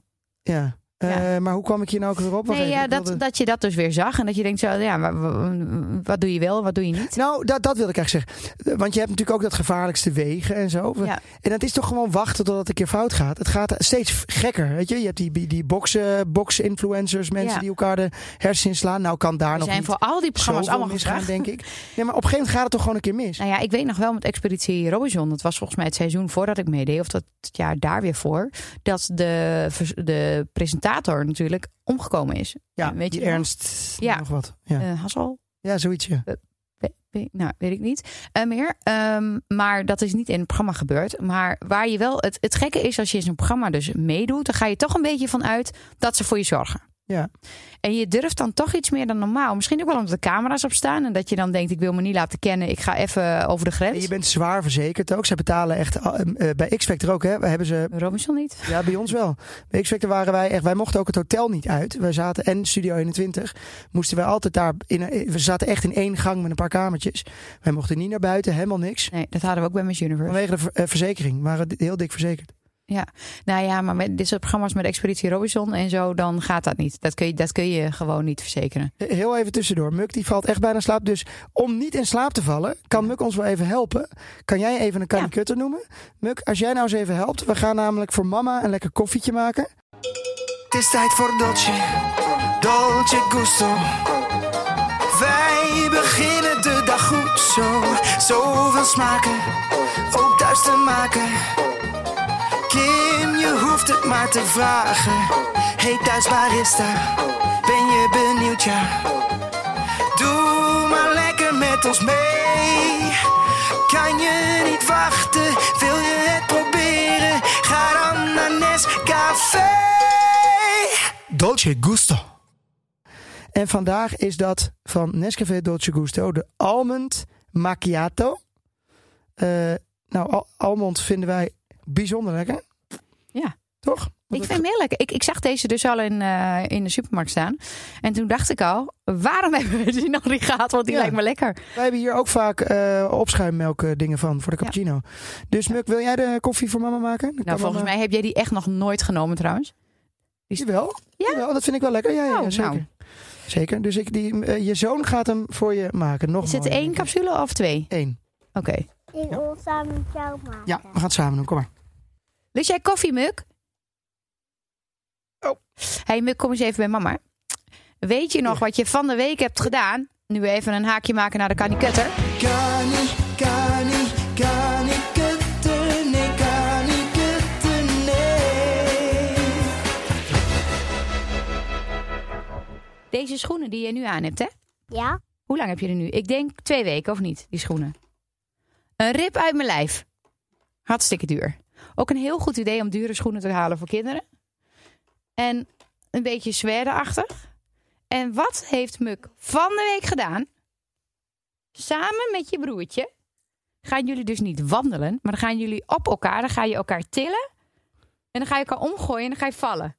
Ja. Ja. Eh, maar hoe kwam ik hier nou ook weer op? Wacht Nee, even, ja, ik dat, wilde- dat je dat dus weer zag. En dat je denkt, zo, ja, maar w- w- wat doe je wel, wat doe je niet? Nou, dat, dat wilde ik eigenlijk zeggen. Eh, Want je hebt natuurlijk ook dat gevaarlijkste wegen en zo. Ja. En dat is toch gewoon wachten totdat het een keer fout gaat. Het gaat steeds gekker, weet je. Je hebt die, die, die boksen, boksen-influencers, mensen Ja. die elkaar de hersens slaan. Nou kan daar We nog zijn niet voor al die programma's zoveel allemaal misgaan, gevraagd. denk ik. Nee, maar op een gegeven moment gaat het toch gewoon een keer mis. Nou ja, ik weet nog wel met Expeditie Robinson. Dat was volgens mij het seizoen voordat ik meedeed. Of dat het jaar daar weer voor. Dat de, vers- de presentator natuurlijk omgekomen is. ja, weet je die nog? ernst, Ja. nog wat. Ja, Eh, Hassel? ja zoiets, ja. We- we- nou, weet ik niet eh, meer. Ehm, maar dat is niet in het programma gebeurd. Maar waar je wel. Het, het gekke is als je in zo'n programma dus meedoet. dan ga je toch een beetje vanuit dat ze voor je zorgen. Ja. En je durft dan toch iets meer dan normaal. Misschien ook wel omdat de camera's op staan. en dat je dan denkt: ik wil me niet laten kennen. ik ga even over de En grens. je bent zwaar verzekerd ook. Zij betalen echt, eh, eh, bij X-Factor ook, hè, hebben ze Robinson niet. Ja, bij ons wel. Bij X-Factor waren wij echt... Wij mochten ook het hotel niet uit. Wij zaten en Studio 21. Moesten wij altijd daar... In, een- we zaten echt in één gang met een paar kamertjes. Wij mochten niet naar buiten, helemaal niks. Nee, dat hadden we ook bij Miss Universe. Vanwege de ver- eh, verzekering. We waren heel dik verzekerd. Nou ja, maar met dit soort programma's met Expeditie Robinson en zo, dan gaat dat niet. Dat kun je, dat kun je gewoon niet verzekeren. Eh, Heel even tussendoor. Muk die valt echt bijna in slaap. Dus om niet in slaap te vallen, kan Muk ons wel even helpen. Kan jij even een Connie Ja. Kutter noemen? Muk, als jij nou eens even helpt. We gaan namelijk voor mama een lekker koffietje maken. Het is tijd voor Dolce, Dolce Gusto. Wij beginnen de dag goed zo. Zoveel smaken, ook thuis te maken. Kim, je hoeft hoeft het maar te vragen. Hey thuis, waar is daar? Ben je benieuwd, ja? Doe maar lekker met ons mee. Kan je niet wachten? Wil je het proberen? Ga dan naar Nescafé. Dolce Gusto. En vandaag is dat van Nescafé Dolce Gusto de Almond Macchiato. Eh, nou, al- almond vinden wij bijzonder lekker. Ja. Toch? Want Ik het- vind hem heel lekker. Ik, ik zag deze dus al in, eh, in de supermarkt staan. En toen dacht ik al, waarom hebben we die nog niet gehad? Want die Ja. lijkt me lekker. Wij hebben hier ook vaak eh opschuimmelk eh, dingen van voor de Ja. cappuccino. Dus Muk, wil jij de koffie voor mama maken? Dan kan Nou, volgens mama- mij heb jij die echt nog nooit genomen trouwens. Jawel. Ja? Jawel, dat vind ik wel lekker. Ja, ja, ja, Oh, zeker. nou. Zeker. Dus ik, die, eh, je zoon gaat hem voor je maken. Nog Is het mooier, één denk ik. capsule of twee? Eén. Oké. Ik wil samen met jou maken. Ja, we gaan het samen doen. Kom maar. Lust Dus jij koffie, Muk? Oh. Hey, Muk, kom eens even bij mama. Weet je nog wat je van de week hebt gedaan? Nu even een haakje maken naar de kaniketter. Kan ik, kan ik, kan ik het er? Nee, kan ik het er? Nee. Deze schoenen die je nu aan hebt, hè? Ja? Hoe lang heb je er nu? Ik denk twee weken, of niet? Die schoenen. Een rib uit mijn lijf. Hartstikke duur. Ook een heel goed idee om dure schoenen te halen voor kinderen. En een beetje zwerdeachtig. En wat heeft Muk van de week gedaan? Samen met je broertje gaan jullie dus niet wandelen, maar dan gaan jullie op elkaar. Dan ga je elkaar tillen. En dan ga je elkaar omgooien en dan ga je vallen.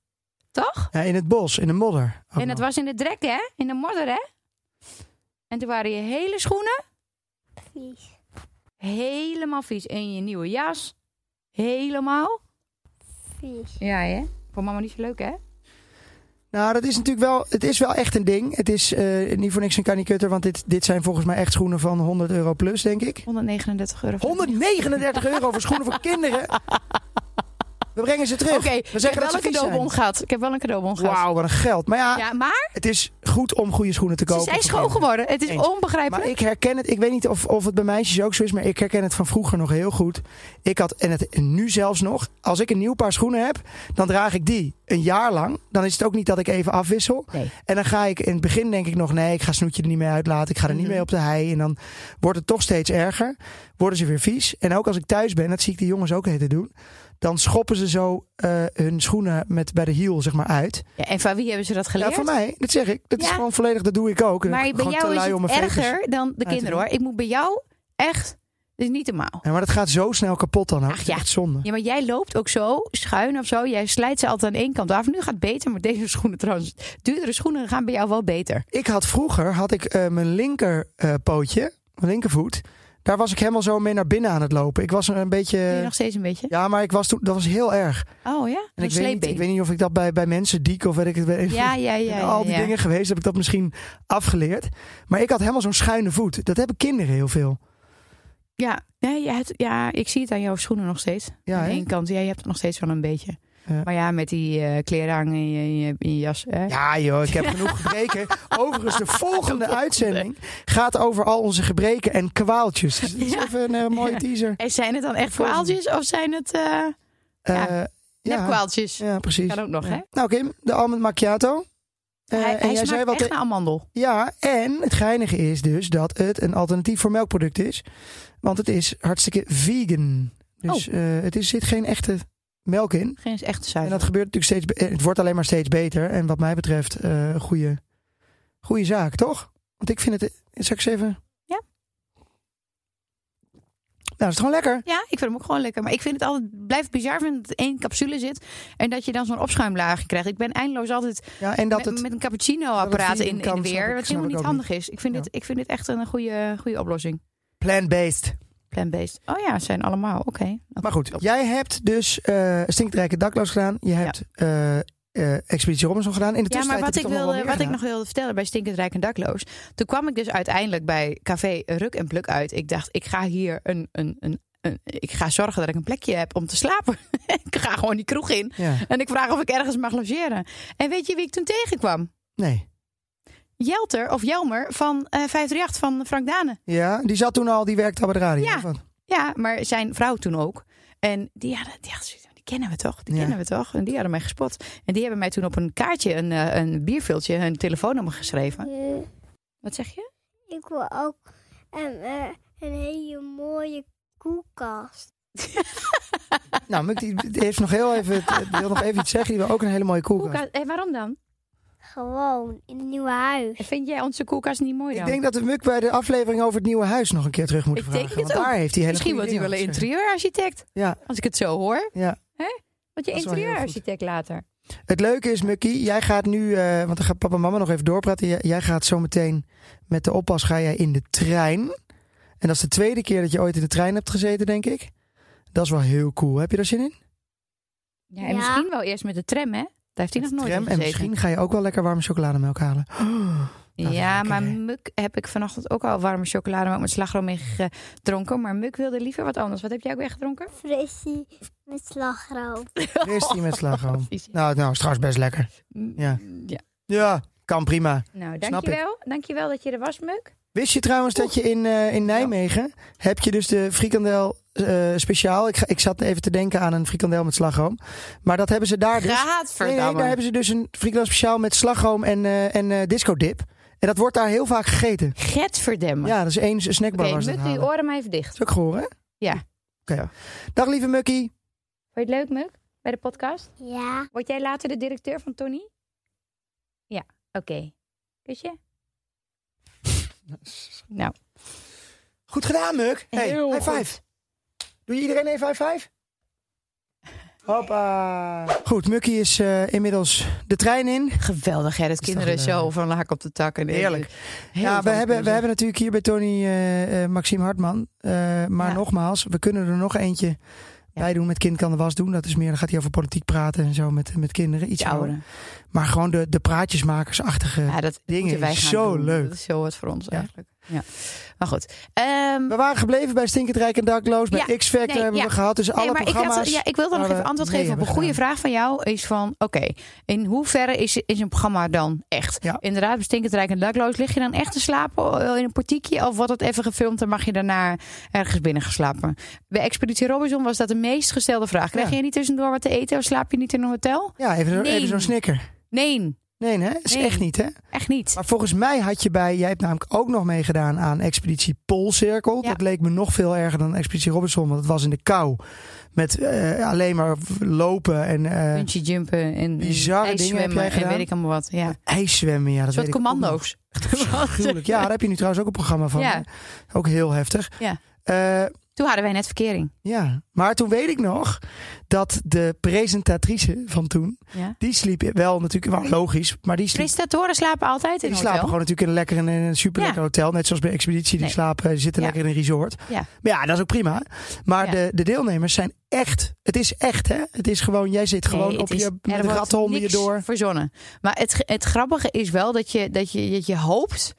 Toch? Ja, in het bos, in de modder. Ook en het nog. was in de drek, hè? In de modder, hè? En toen waren je hele schoenen Vies. helemaal vies. En je nieuwe jas helemaal. Vies. Ja, hè? Voor mama niet zo leuk, hè? Nou, dat is natuurlijk wel, het is wel echt een ding. Het is eh, niet voor niks een kanikutter, want dit, dit zijn volgens mij echt schoenen van 100 euro plus, denk ik. 139 euro. 139 euro voor schoenen voor kinderen. We brengen ze terug. Oké, ik we heb zeggen dat wel ze een vies cadeaubon zijn. gehad. Ik heb wel een cadeaubon gehad. Wauw, wat een geld. Maar ja, Ja, maar het is goed om goede schoenen te ze kopen. zijn voor schoon kinderen. geworden. Het is Eens. onbegrijpelijk. Maar ik herken het, ik weet niet of, of het bij meisjes ook zo is, maar ik herken het van vroeger nog heel goed. Ik had, en, het, en nu zelfs nog, als ik een nieuw paar schoenen heb, dan draag ik die een jaar lang. Dan is het ook niet dat ik even afwissel. Nee. En dan ga ik in het begin denk ik nog, nee, ik ga snoetje er niet mee uitlaten, ik ga er Mhm. niet mee op de hei. En dan wordt het toch steeds erger, worden ze weer vies. En ook als ik thuis ben, dat zie ik de jongens ook heten doen, dan schoppen ze zo eh, hun schoenen met, bij de hiel zeg maar uit. Ja, en van wie hebben ze dat Ja, geleerd? voor mij, dat zeg ik, dat is Ja. gewoon volledig, dat doe ik ook. Maar bij Gewoon te lui jou om is mijn het veters- erger dan te de kinderen, doen. hoor. Ik moet bij jou echt... Dat is niet normaal. Ja, maar dat gaat zo snel kapot dan ook. Ach Dat is ja. Echt zonde. Ja, maar jij loopt ook zo schuin of zo. Jij slijt ze altijd aan één kant af. Nu gaat het beter met deze schoenen trouwens. Duurdere schoenen gaan bij jou wel beter. Ik had vroeger had ik eh, mijn linker eh, pootje, mijn linkervoet. Daar was ik helemaal zo mee naar binnen aan het lopen. Ik was een, een Doe je beetje. nog steeds een beetje? Ja, maar ik was toen. Dat was heel erg. Oh ja? Eh, En Een ik weet, niet, sleepbeen. ik weet niet of ik dat bij, bij mensen diek of weet ik het. weet- Ja, ja, ja. en ja, al die ja. dingen geweest heb ik dat misschien afgeleerd. Maar ik had helemaal zo'n schuine voet. Dat hebben kinderen heel veel. Ja, nee, je hebt- ja, ik zie het aan jouw schoenen nog steeds. Ja, aan hè? één kant, ja, je hebt het nog steeds wel een beetje. Ja. Maar ja, met die eh, kleren hangen in je, in je, in je jas. Hè? Ja joh, ik heb genoeg gebreken. Overigens, de volgende uitzending gaat over al onze gebreken en kwaaltjes. Dus dat is Ja. even een eh, mooie teaser. En zijn het dan echt kwaaltjes of zijn het eh Ja. Eh, nepkwaaltjes? Ja, precies. Kan ook nog, hè? Nou Kim, de almond macchiato. Eh, hij en hij jij smaakt zei wat echt naar amandel. Ja, en het geinige is dus dat het een alternatief voor melkproduct is. Want het is hartstikke vegan. Dus Oh. eh, het is, zit geen echte melk in. Geen is echt En zuiver. dat gebeurt natuurlijk steeds. be- eh, Het wordt alleen maar steeds beter. En wat mij betreft, eh, een goede, goede zaak, toch? Want ik vind het. eh, Zal ik eens even. Ja. Nou, is het gewoon lekker. Ja, ik vind hem ook gewoon lekker. Maar ik vind het altijd, blijft bizar vinden dat er één capsule zit. En dat je dan zo'n opschuimlaagje krijgt. Ik ben eindeloos altijd Ja, en dat met, het. met een cappuccino-apparaat vegan in, in kan, de snap ik, weer. Wat snap helemaal ik ook niet niet. handig is. Ik vind, Ja. dit, ik vind dit echt een goede, goede oplossing. Plant-based. Plant-based. Oh ja, ze zijn allemaal. Oké. Oké. Maar goed, jij hebt dus eh Stinkrijke Dakloos gedaan. Je hebt eh, eh, Expeditie Robinson gedaan. In de Ja, maar tussentijd heb wat, je ik, toch nog wel wilde, meer wat ik gedaan. nog wilde vertellen bij Stinkend Rijk en Dakloos. Toen kwam ik dus uiteindelijk bij Café Ruk en Pluk uit. Ik dacht, ik ga hier een, een, een, een- Ik ga zorgen dat ik een plekje heb om te slapen. ik ga gewoon die kroeg in. Ja, En ik vraag of ik ergens mag logeren. En weet je wie ik toen tegenkwam? nee. Jelter of Jelmer van eh 538 van Frank Dane. Ja, die zat toen al, die werkte al bij de radio. Ja. of wat? Ja, maar zijn vrouw toen ook. En die, ja, die, had zoiets van, die kennen we toch? Die Ja. kennen we toch? En die hadden mij gespot. En die hebben mij toen op een kaartje, een, eh, een bierviltje, hun telefoonnummer geschreven. Eh, Wat zeg je? Ik wil ook ehm, eh, een hele mooie koelkast. Nou, Muk, die, die heeft nog heel even, die wil nog even iets zeggen. Die wil ook een hele mooie koelkast. Koelkast. En waarom dan? Gewoon in een nieuw huis. Vind jij onze koelkast niet mooi dan? Ik denk dat we Muk bij de aflevering over het nieuwe huis nog een keer terug moeten oh Ik vragen. denk het want ook. daar heeft hij hele Misschien wordt goede hij wel een dingen over interieurarchitect. te zeggen. Als ik het zo hoor. Ja, ja. Want je Dat is wel heel interieurarchitect later. Het leuke is, Mukkie, jij gaat nu, eh, want dan gaat papa en mama nog even doorpraten. Jij, jij gaat zo meteen met de oppas ga jij in de trein. En dat is de tweede keer dat je ooit in de trein hebt gezeten, denk ik. Dat is wel heel cool. Heb je daar zin in? Ja, en Ja. misschien wel eerst met de tram, hè? Daar heeft hij nog nooit Tram. in En gezeten. misschien ga je ook wel lekker warme chocolademelk halen. Dat is Ja, lekker, maar hè? Muk heb ik vanochtend ook al warme chocolade maar ook met slagroom in gedronken. Maar Muk wilde liever wat anders. Wat heb jij ook weer gedronken? Frissie met slagroom. Christie met slagroom. Oh, Vies. Nou, nou, is trouwens best lekker. Ja. ja. Ja, kan prima. Nou, Snap dankjewel. Dankjewel dat je er was, Muk. Wist je trouwens dat je in, eh, in Nijmegen heb je dus de frikandel eh, speciaal. Ik, ga- ik zat even te denken aan een frikandel met slagroom. Maar dat hebben ze daar dus. Nee, nee, daar hebben ze dus een frikandel speciaal met slagroom en, eh en eh, disco dip. En dat wordt daar heel vaak gegeten. Getverdemmen. Ja, dat is één snackbar Oké, was dat Muk, doe je halen. oren maar even dicht. Is ook gehoor, hè? Ja. Oké. Dag lieve Mukkie. Vond je het leuk, Muk? Bij de podcast? Ja, Word jij later de directeur van Tony? Ja, oké. Kusje? nou, Goed gedaan, Muk. Hey, Heel high goed. five. Doe je iedereen even high five? Hoppa. Goed, Mukkie is eh, inmiddels de trein in. geweldig hè, dat Is toch kinderen een, eh, zo van laak op de tak. En Heerlijk. Heel ja, we veel hebben, we plezier. hebben natuurlijk hier bij Tony eh, eh, Maxime Hartman. Eh, maar Ja. nogmaals, we kunnen er nog eentje bij doen met Kind kan de was doen. Dat is meer, dan gaat hij over politiek praten en zo met, met kinderen. Iets Die ouder. ouderen. Maar gewoon de, de praatjesmakersachtige. Ja, dat dingen moeten wij is gaan zo doen. leuk. Dat is zo wat voor ons Ja. eigenlijk. Ja. Maar goed. Ehm, We waren gebleven bij Stinkend Rijk en Dakloos. Bij Ja, X-Factor nee, hebben ja. we gehad. Dus alle nee, maar ik, programma's. had, ja, ik wilde nog waar even we antwoord mee geven op een hebben goede gedaan. vraag van jou. Is van, oké, in hoeverre is, is een programma dan echt? Ja. Inderdaad, bestinkend rijk en dakloos. Lig je dan echt te slapen eh, in een portiekje? Of wordt het even gefilmd en mag je daarna ergens binnen geslapen? Bij Expeditie Robinson was dat de meest gestelde vraag. Krijg Ja. je niet tussendoor wat te eten of slaap je niet in een hotel? Ja, even, zo- Nee. even zo'n snikker. Nee, Nee, hè? Is Nee. echt niet, hè? echt niet. Maar volgens mij had je bij... Jij hebt namelijk ook nog meegedaan aan Expeditie Poolcirkel. Ja. Dat leek me nog veel erger dan Expeditie Robinson. Want het was in de kou. Met eh, alleen maar lopen en eh, Puntje jumpen en, Bizarre en dingen heb jij ijszwemmen en gedaan? weet ik allemaal wat. Ja. Een ijszwemmen. Ja, dat soort weet ik ook commando's. nog. Gruwelijk. Ja, daar heb je nu trouwens ook een programma van. Ja. hè? Ook heel heftig. Ja. Eh, Toen hadden wij net verkering. ja, maar toen weet ik nog dat de presentatrice van toen, Ja. die sliep wel natuurlijk, wel logisch, maar die sliep Presentatoren slapen altijd in Die een slapen hotel. gewoon natuurlijk in een lekker in een superlekker Ja. hotel. Net zoals bij Expeditie. Die Nee. slapen, die zitten Ja. lekker in een resort. Ja. Maar ja, dat is ook prima. Maar Ja. de, de deelnemers zijn echt. Het is echt, hè? Het is gewoon, jij zit gewoon Nee, op het is- je er met wordt ratten onder je niks door. Verzonnen. Maar het, het grappige is wel dat je, dat je, dat je hoopt.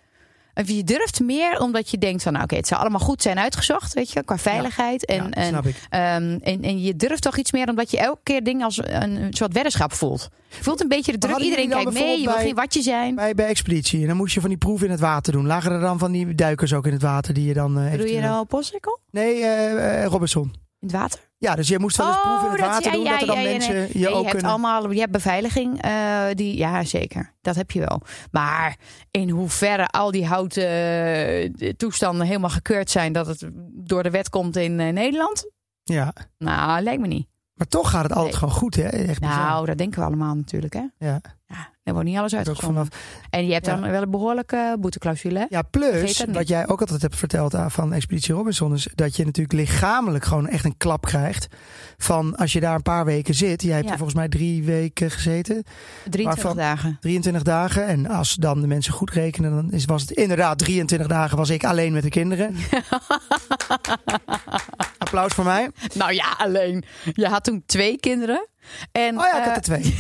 Of je durft meer omdat je denkt van nou, oké, het zou allemaal goed zijn uitgezocht, weet je, qua veiligheid. En, Ja, en, snap ik. ehm, en, en je durft toch iets meer omdat je elke keer dingen als een soort weddenschap voelt. Je voelt een beetje de druk. hadden Iedereen jullie kijkt dan mee, je wil geen bijvoorbeeld watje zijn. Bij, bij Expeditie. En dan moest je van die proef in het water doen. Lagen er dan van die duikers ook in het water die je dan. eh Doe je eventueel- nou op postcirkel? Nee, eh, eh, Robinson. In het water? Ja, dus je moest wel eens proef in het Oh, dat- water ja, doen. ja, dat er dan ja, ja, mensen nee. je Nee, ook hebt kunnen. allemaal, je hebt beveiliging, eh, die, ja zeker, dat heb je wel. Maar in hoeverre al die houten eh, toestanden helemaal gekeurd zijn dat het door de wet komt in eh, Nederland? Ja. Nou, lijkt me niet. Maar toch gaat het altijd Nee. gewoon goed, hè? Echt bizar. Nou, dat denken we allemaal natuurlijk, hè? Ja. Ja, er wordt niet alles Dat is ook uitgevonden. vanaf En je hebt dan Ja. wel een behoorlijke boeteclausule. hè? Ja, Vergeet plus dat niet. wat jij ook altijd hebt verteld aan- van Expeditie Robinson is dat je natuurlijk lichamelijk gewoon echt een klap krijgt. Van als je daar een paar weken zit, jij hebt Ja. er volgens mij drie weken gezeten, 23 Waarvan- dagen. 23 dagen. En als dan de mensen goed rekenen, dan is, was het inderdaad 23 dagen was ik alleen met de kinderen. Applaus voor mij. Nou ja, alleen. Je had toen twee kinderen. En, Oh ja, ik eh, had er twee.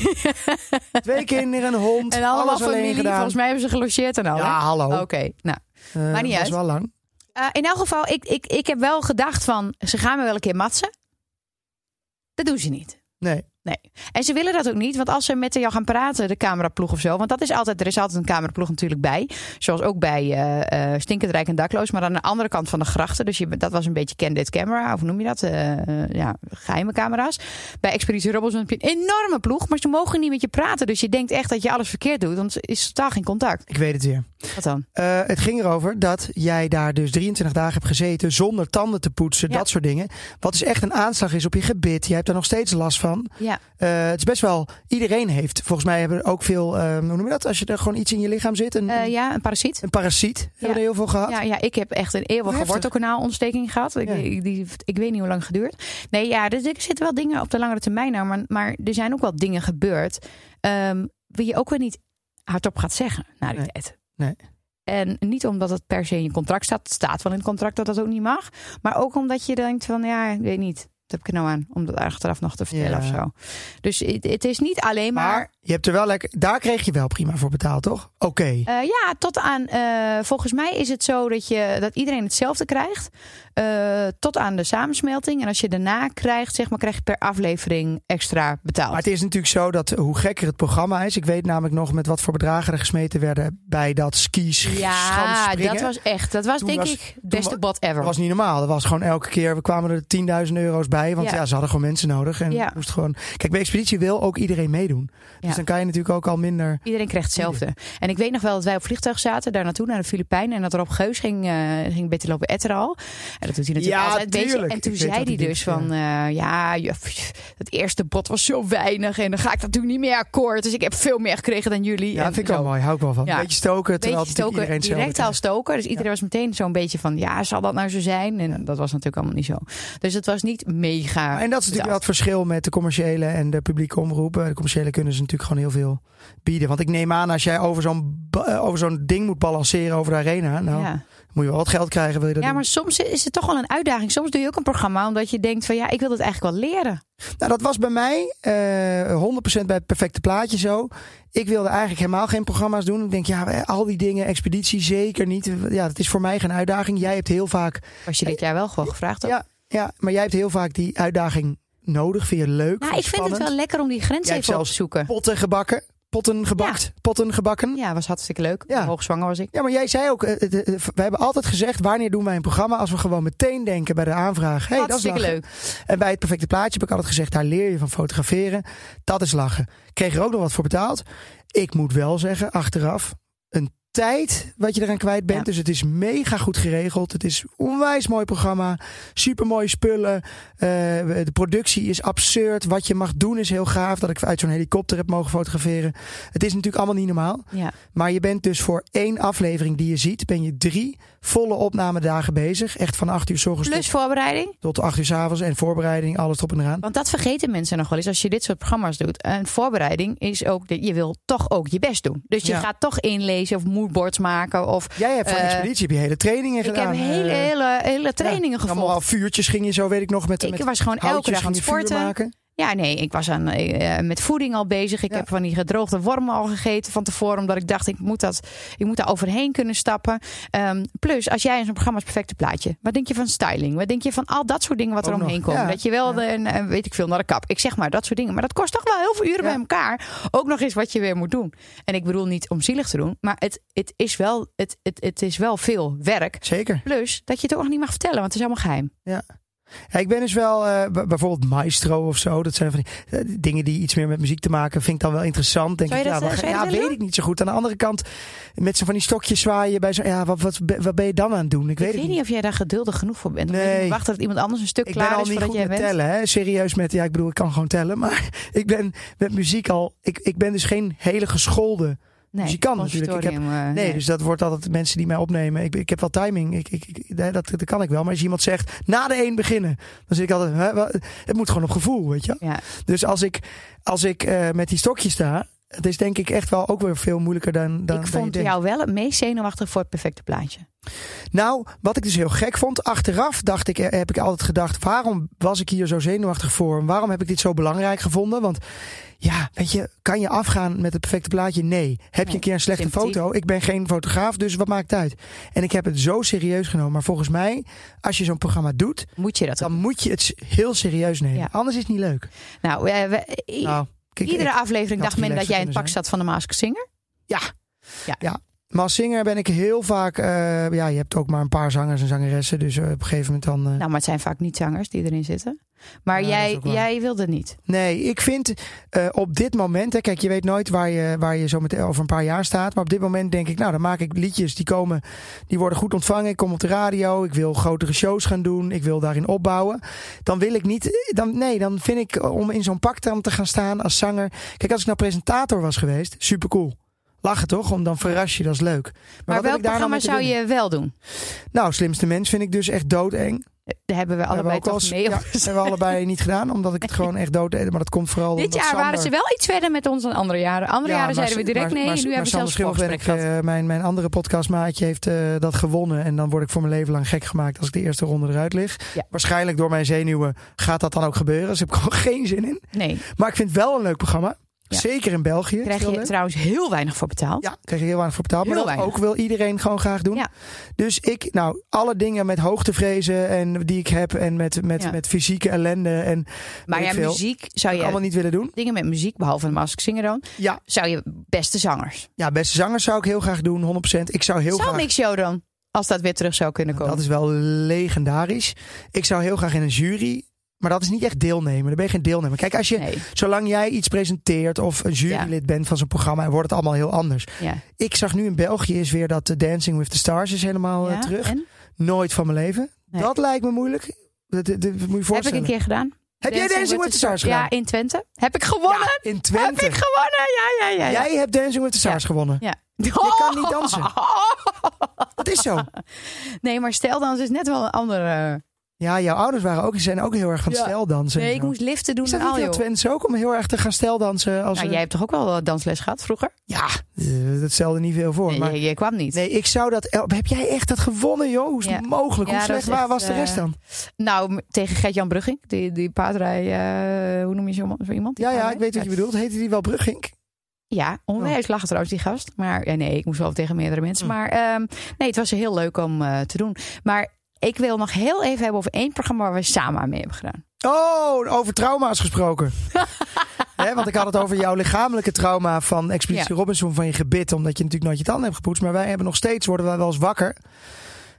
twee kinderen, een hond, en allemaal alles alleen familie. gedaan. Volgens mij hebben ze gelogeerd en al. Ja, hè? hallo. Oké, nou. Eh, maar niet dat uit. is wel lang. Eh, in elk geval, ik, ik, ik heb wel gedacht van, ze gaan me wel een keer matsen. Dat doen ze niet. Nee. Nee. En ze willen dat ook niet, want als ze met jou gaan praten, de cameraploeg of zo, want dat is altijd, er is altijd een cameraploeg natuurlijk bij. Zoals ook bij eh eh, Stinkend Rijk en Dakloos, maar aan de andere kant van de grachten. Dus je, bent- dat was een beetje candid camera, of hoe noem je dat? Eh, eh, ja, geheime camera's. Bij Expeditie Robinson heb je een enorme ploeg, maar ze mogen niet met je praten. Dus je denkt echt dat je alles verkeerd doet, want er is totaal geen contact. Ik weet het weer. Wat dan? Eh, het ging erover dat jij daar dus 23 dagen hebt gezeten zonder tanden te poetsen, Ja. dat soort dingen. Wat dus echt een aanslag is op je gebit. Je hebt daar nog steeds last van. Ja. Eh, het is best wel, iedereen heeft, volgens mij hebben er ook veel, eh, hoe noem je dat? Als je er gewoon iets in je lichaam zit, een, Eh, ja, een parasiet. een parasiet, hebben Ja. er heel veel gehad. Ja, ja, ik heb echt een eeuwige Heftig. wortelkanaalontsteking gehad. Ik, Ja. ik, die, ik weet niet hoe lang geduurd. Nee, ja, dus er zitten wel dingen op de langere termijn aan. Maar, maar er zijn ook wel dingen gebeurd. ehm die je ook weer niet hardop gaat zeggen na die Nee. tijd. Nee. En niet omdat het per se in je contract staat. Het staat wel in het contract dat dat ook niet mag. Maar ook omdat je denkt van, ja, ik weet niet. Wat heb ik er nou aan om dat achteraf nog te vertellen Ja. of zo. Dus het, het is niet alleen maar... Maar je hebt er wel lekker, daar kreeg je wel prima voor betaald, toch? Oké. Eh, ja, tot aan. eh, volgens mij is het zo dat, je, dat iedereen hetzelfde krijgt. eh, tot aan de samensmelting. En als je daarna krijgt, zeg maar, krijg je per aflevering extra betaald. Maar het is natuurlijk zo dat hoe gekker het programma is. Ik weet namelijk nog met wat voor bedragen er gesmeten werden bij dat skis. ja, schansspringen. dat was echt. Dat was Toen denk was- ik beste wa- bad ever. Dat was niet normaal. Dat was gewoon elke keer. We kwamen er 10.000 euro's bij. Want Ja. ja. ze hadden gewoon mensen nodig. En Ja. moest gewoon. Kijk, bij Expeditie wil ook iedereen meedoen. Dus Ja. dan kan je natuurlijk ook al minder. Iedereen kreeg hetzelfde. En ik weet nog wel dat wij op vliegtuig zaten, daar naartoe, naar de Filipijnen. En dat Rob Geus ging, eh ging Betty lopen etteren al. En dat doet hij natuurlijk Ja, altijd. weet je. tuurlijk. En toen Ik weet zei wat hij hij dus doet, van, eh, ja, je- pff, het eerste bod was zo weinig. En dan ga ik dat natuurlijk niet meer akkoord. Dus ik heb veel meer gekregen dan jullie. Ja, en vind ik wel zo. mooi. Hou ik wel van. Ja. Beetje stoken. Terwijl Beetje het natuurlijk stoken, iedereen direct zelf al stoken. Dus iedereen was meteen zo'n beetje van, ja, zal dat nou zo zijn? En dat was natuurlijk allemaal niet zo. Dus het was niet mega. En dat is natuurlijk wel het verschil met de commerciële en de publieke omroepen. De commerciële kunnen ze natuurlijk gewoon heel veel bieden. Want ik neem aan, als jij over zo'n, ba- eh, over zo'n ding moet balanceren over de arena. Nou, Ja. moet je wel wat geld krijgen. Wil je dat ja, doen? maar soms is het toch wel een uitdaging. Soms doe je ook een programma omdat je denkt van ja, ik wil het eigenlijk wel leren. Nou, dat was bij mij eh 100% bij het perfecte plaatje zo. Ik wilde eigenlijk helemaal geen programma's doen. Ik denk, ja, eh, al die dingen, expeditie zeker niet. Ja, dat is voor mij geen uitdaging. Jij hebt heel vaak, Was je dit jaar wel gewoon gevraagd? ook? ja, ja, maar jij hebt heel vaak die uitdaging nodig. Vind je leuk? nou, ik vind het wel lekker om die grens Jij hebt even op te zelfs zoeken. Potten gebakken, potten gebakt, potten gebakken. Ja. Ja, was hartstikke leuk. Ja. Hoogzwanger was ik. maar jij zei ook, eh, eh, eh, we hebben altijd gezegd, wanneer doen wij een programma als we gewoon meteen denken bij de aanvraag. Hey, dat is hartstikke lachen. leuk. En bij het perfecte plaatje heb ik altijd gezegd: daar leer je van fotograferen. Dat is lachen. Kreeg er ook nog wat voor betaald. Ik moet wel zeggen, achteraf, een tijd wat je eraan kwijt bent. Ja. Dus het is mega goed geregeld. Het is een onwijs mooi programma. Super mooie spullen. Eh, de productie is absurd. Wat je mag doen is heel gaaf. Dat ik uit zo'n helikopter heb mogen fotograferen. Het is natuurlijk allemaal niet normaal. Ja. Maar je bent dus voor één aflevering die je ziet, ben je drie volle opnamedagen bezig. Echt van acht uur 's ochtends tot Plus voorbereiding. tot 8 uur 's avonds en voorbereiding, alles erop en eraan. Want dat vergeten mensen nog wel eens als je dit soort programma's doet. En voorbereiding is ook dat je wil toch ook je best doen. Dus je Ja. gaat toch inlezen of moodboards maken of Jij hebt van Eh, expeditie heb je hele trainingen ik heb gedaan. hele, eh, hele, hele trainingen ja, gevolgd. Allemaal vuurtjes ging je zo, weet ik nog, met, Ik met was gewoon elke houtjes dag aan ging het je vuur sporten. maken. Ja, nee, ik was aan, eh, eh, met voeding al bezig. Ik Ja. heb van die gedroogde wormen al gegeten van tevoren. Omdat ik dacht, ik moet, dat, ik moet daar overheen kunnen stappen. Ehm, plus, als jij in zo'n programma is perfecte plaatje. Wat denk je van styling? Wat denk je van al dat soort dingen wat Ook er omheen nog, komen? ja. Dat je wel, de- een, een- weet ik veel, naar de kap. Ik zeg maar, dat soort dingen. Maar dat kost toch wel heel veel uren Ja. bij elkaar. Ook nog eens wat je weer moet doen. En ik bedoel niet om zielig te doen. Maar het, het, is, wel, het, het, het is wel veel werk. Zeker. Plus, dat je het ook nog niet mag vertellen. Want het is allemaal geheim. Ja, ik ben dus wel eh, b- bijvoorbeeld maestro of zo. Dat zijn van die eh, dingen die iets meer met muziek te maken. Vind ik dan wel interessant. Denk Zou je ik, dat, ja, eh, maar- zou je ja dat willen weet ik niet zo goed. Aan de andere kant, met zo'n van die stokjes zwaaien bij zo. Ja, wat, wat, be- wat ben je dan aan het doen? Ik weet Ik het weet niet. niet of jij daar geduldig genoeg voor bent. Of Nee. je moet wachten dat iemand anders een stuk Ik ben klaar al is niet voordat goed jij met bent. tellen, hè? serieus met, ja ik bedoel ik kan gewoon tellen, maar ik ben met muziek al, ik, ik ben dus geen hele geschoolde Nee, muzikant natuurlijk. Ik heb- conservatorium, eh, Nee, nee. dus dat wordt altijd mensen die mij opnemen. Ik, ik heb wel timing. Ik, ik, ik- nee, dat, dat kan ik wel. Maar als iemand zegt, na de één beginnen. Dan zit ik altijd, hè, wa- het moet gewoon op gevoel, weet je. Ja. Dus als ik, als ik eh, met die stokjes sta het is denk ik echt wel ook weer veel moeilijker dan, dan ik dan je vond denkt. jou wel het meest zenuwachtig voor het perfecte plaatje. Nou, wat ik dus heel gek vond, achteraf dacht ik, eh, heb ik altijd gedacht, waarom was ik hier zo zenuwachtig voor? En waarom heb ik dit zo belangrijk gevonden? Want ja, weet je, kan je afgaan met het perfecte plaatje? Nee. Heb je Nee, een keer een slechte sympathiek. foto? Ik ben geen fotograaf, dus wat maakt het uit? En ik heb het zo serieus genomen. Maar volgens mij, als je zo'n programma doet, Moet je dat dan ook? moet je het s- heel serieus nemen. Ja. Anders is het niet leuk. Nou, eh, we- i- Nou, kijk, iedere ik- aflevering had dacht men dat relaxer jij in het pak kunnen zat van de Mask Singer. maar als zanger ben ik heel vaak... eh, ja, je hebt ook maar een paar zangers en zangeressen. Dus eh, op een gegeven moment dan... eh, Nou, maar het zijn vaak niet zangers die erin zitten. Maar Ja, dat is jij, ook waar. jij wilde niet. Nee, ik vind eh, op dit moment, hè, kijk, je weet nooit waar je, waar je zo meteen over een paar jaar staat. Maar op dit moment denk ik, nou, dan maak ik liedjes die komen, die worden goed ontvangen. Ik kom op de radio, ik wil grotere shows gaan doen, ik wil daarin opbouwen. Dan wil ik niet, eh, dan, nee, dan vind ik eh, om in zo'n pak dan te gaan staan als zanger. Kijk, als ik nou presentator was geweest, supercool. Lachen toch? Om dan verras je, dat is leuk. Maar, wat Maar, heb welk ik daar nou programma mee te zou doen? je wel doen? Nou, slimste mens vind ik dus echt doodeng. Daar hebben we allebei hebben we ook toch al mee eens- op ja, gezegd. hebben we allebei niet gedaan, omdat ik het gewoon echt dood Maar dat komt vooral Dit omdat jaar waren Sander- ze wel iets verder met ons dan andere jaren. Andere Ja, jaren maar zeiden we Sa- direct maar- nee. maar- nu maar hebben we Sander zelfs een Schimmelpenninck, voorgesprek gehad. eh, mijn, mijn andere podcastmaatje heeft eh, dat gewonnen. En dan word ik voor mijn leven lang gek gemaakt als ik de eerste ronde eruit lig. Ja. Waarschijnlijk door mijn zenuwen gaat dat dan ook gebeuren. Dus daar heb ik gewoon geen zin in. Nee, Maar ik vind het wel een leuk programma. Ja. Zeker in België. krijg Heel je leuk. trouwens heel weinig voor betaald. Ja, krijg je heel weinig voor betaald. Maar Heel dat weinig. ook wil iedereen gewoon graag doen. Ja. Dus ik, nou, alle dingen met hoogtevrezen en die ik heb. En met, met, Ja. met fysieke ellende. En maar weet ja, ik veel. muziek zou ik je allemaal niet willen doen. dingen met muziek, behalve de Mask Singer dan, Ja. zou je beste zangers. Ja, beste zangers zou ik heel graag doen, 100%. Ik zou heel zou graag... Mix Show dan, als dat weer terug zou kunnen komen. Dat is wel legendarisch. Ik zou heel graag in een jury. Maar dat is niet echt deelnemen. Dan ben je geen deelnemer. Kijk, als je, Nee, zolang jij iets presenteert of een jurylid bent van zo'n programma, en wordt het allemaal heel anders. ja. Ik zag nu in België is weer dat eh, Dancing with the Stars is helemaal eh, Ja, terug. en? Nooit van mijn leven. Nee. Dat lijkt me moeilijk. Dat, dat- dat moet je je Heb ik voorstellen. een keer gedaan. Heb jij Dancing with the Stars gedaan? Ja, in Twente. Heb ik gewonnen? in Heb Twente. ik gewonnen? Ja, ja, ja. ja. Jij hebt Dancing with the Stars gewonnen. Ja. Je kan niet dansen. Dat is zo. Nee, maar steldansen is net wel een andere... Ja, jouw ouders waren ook, zijn ook heel erg van Ja. steldansen. en Nee, ik zo. moest liften doen Is en dat niet al, heel joh. Twents ook om heel erg te gaan steldansen? Als Nou, een- jij hebt toch ook wel eh, dansles gehad vroeger? Ja, eh, dat stelde niet veel voor. Nee, maar... je, je kwam niet. Nee, ik zou dat... El- Heb jij echt dat gewonnen, joh? Hoe is Ja. het mogelijk? Hoe Ja, dat slecht is waar echt, was de eh, rest dan? Nou, m- tegen Gert-Jan Brugging, die, die paardrij, eh, hoe noem je zo, zo iemand? Die Ja, ja, paardrij? ik weet wat je bedoelt. Oh. Heette die wel Brugink? Ja, oh, onwijs lachen trouwens die gast. Maar ja, nee, ik moest wel tegen meerdere Oh. mensen. Maar ehm, nee, het was heel leuk om eh, te doen. Maar ik wil nog heel even hebben over één programma waar we samen aan mee hebben gedaan. Oh, over trauma's gesproken. Hè, want ik had het over jouw lichamelijke trauma van Expeditie Ja. Robinson van je gebit. Omdat je natuurlijk nooit je tanden hebt gepoetst. Maar wij hebben nog steeds, worden wij wel eens wakker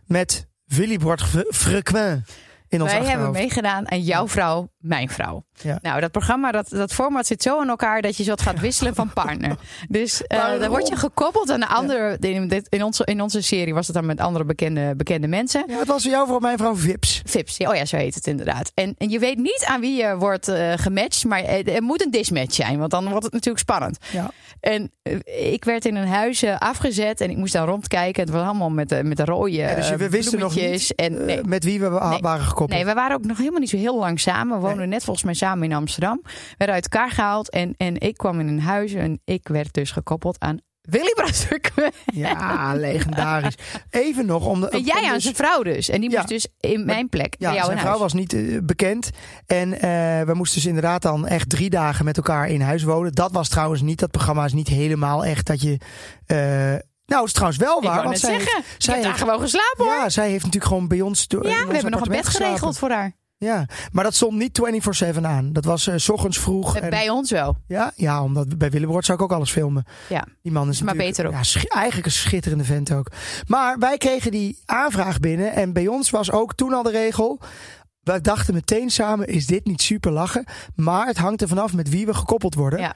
met Willibord Frequent in ons Wij hebben achterhoofd. meegedaan aan jouw vrouw, mijn vrouw. Ja. Nou, dat programma, dat, dat format zit zo in elkaar dat je zult gaat wisselen van partner. Dus eh, Waarom? dan word je gekoppeld aan de andere. In, dit- in, onze, in onze serie was het dan met andere bekende, bekende mensen. Ja, het was voor jou voor mijn vrouw Vips. Vips, ja, oh ja, zo heet het inderdaad. En, en je weet niet aan wie je wordt eh, gematcht, maar eh, er moet een dismatch zijn, want dan wordt het natuurlijk spannend. Ja. En eh, ik werd in een huis eh, afgezet en ik moest daar rondkijken. Het was allemaal met, eh, met de rode Ja, dus je- we eh, wisten nog bloemetjes Eh, En, nee. Met wie we wa- Nee. waren gekoppeld. Nee, we waren ook nog helemaal niet zo heel lang samen. We woonden net volgens mij samen in Amsterdam. We werden uit elkaar gehaald en, en ik kwam in een huis en ik werd dus gekoppeld aan Willy Brastuk. Ja, legendarisch. Even nog om de. En jij om aan dus- zijn vrouw dus. En die Ja. moest dus in mijn plek ja, bij jou zijn in vrouw huis. was niet eh, bekend. En eh, we moesten dus inderdaad dan echt drie dagen met elkaar in huis wonen. Dat was trouwens niet, dat programma is niet helemaal echt dat je. eh, nou, is trouwens wel Ik waar. want wou net zij zeggen, heeft, ik zij heb daar heeft, gewoon geslapen hoor. ja, zij heeft natuurlijk gewoon bij ons. do- in Ja, Eh, ons we hebben nog een appartement bed geregeld geslapen. voor haar. Ja, maar dat stond niet 24-7 aan. Dat was eh, s ochtends vroeg. en- Bij ons wel. ja, ja, omdat bij Willebroord zou ik ook alles filmen. Ja. Die man is Maar natuurlijk- beter ook. Ja, sch- eigenlijk een schitterende vent ook. Maar wij kregen die aanvraag binnen. En bij ons was ook toen al de regel. We dachten meteen samen, is dit niet super lachen? Maar het hangt er vanaf met wie we gekoppeld worden. Ja.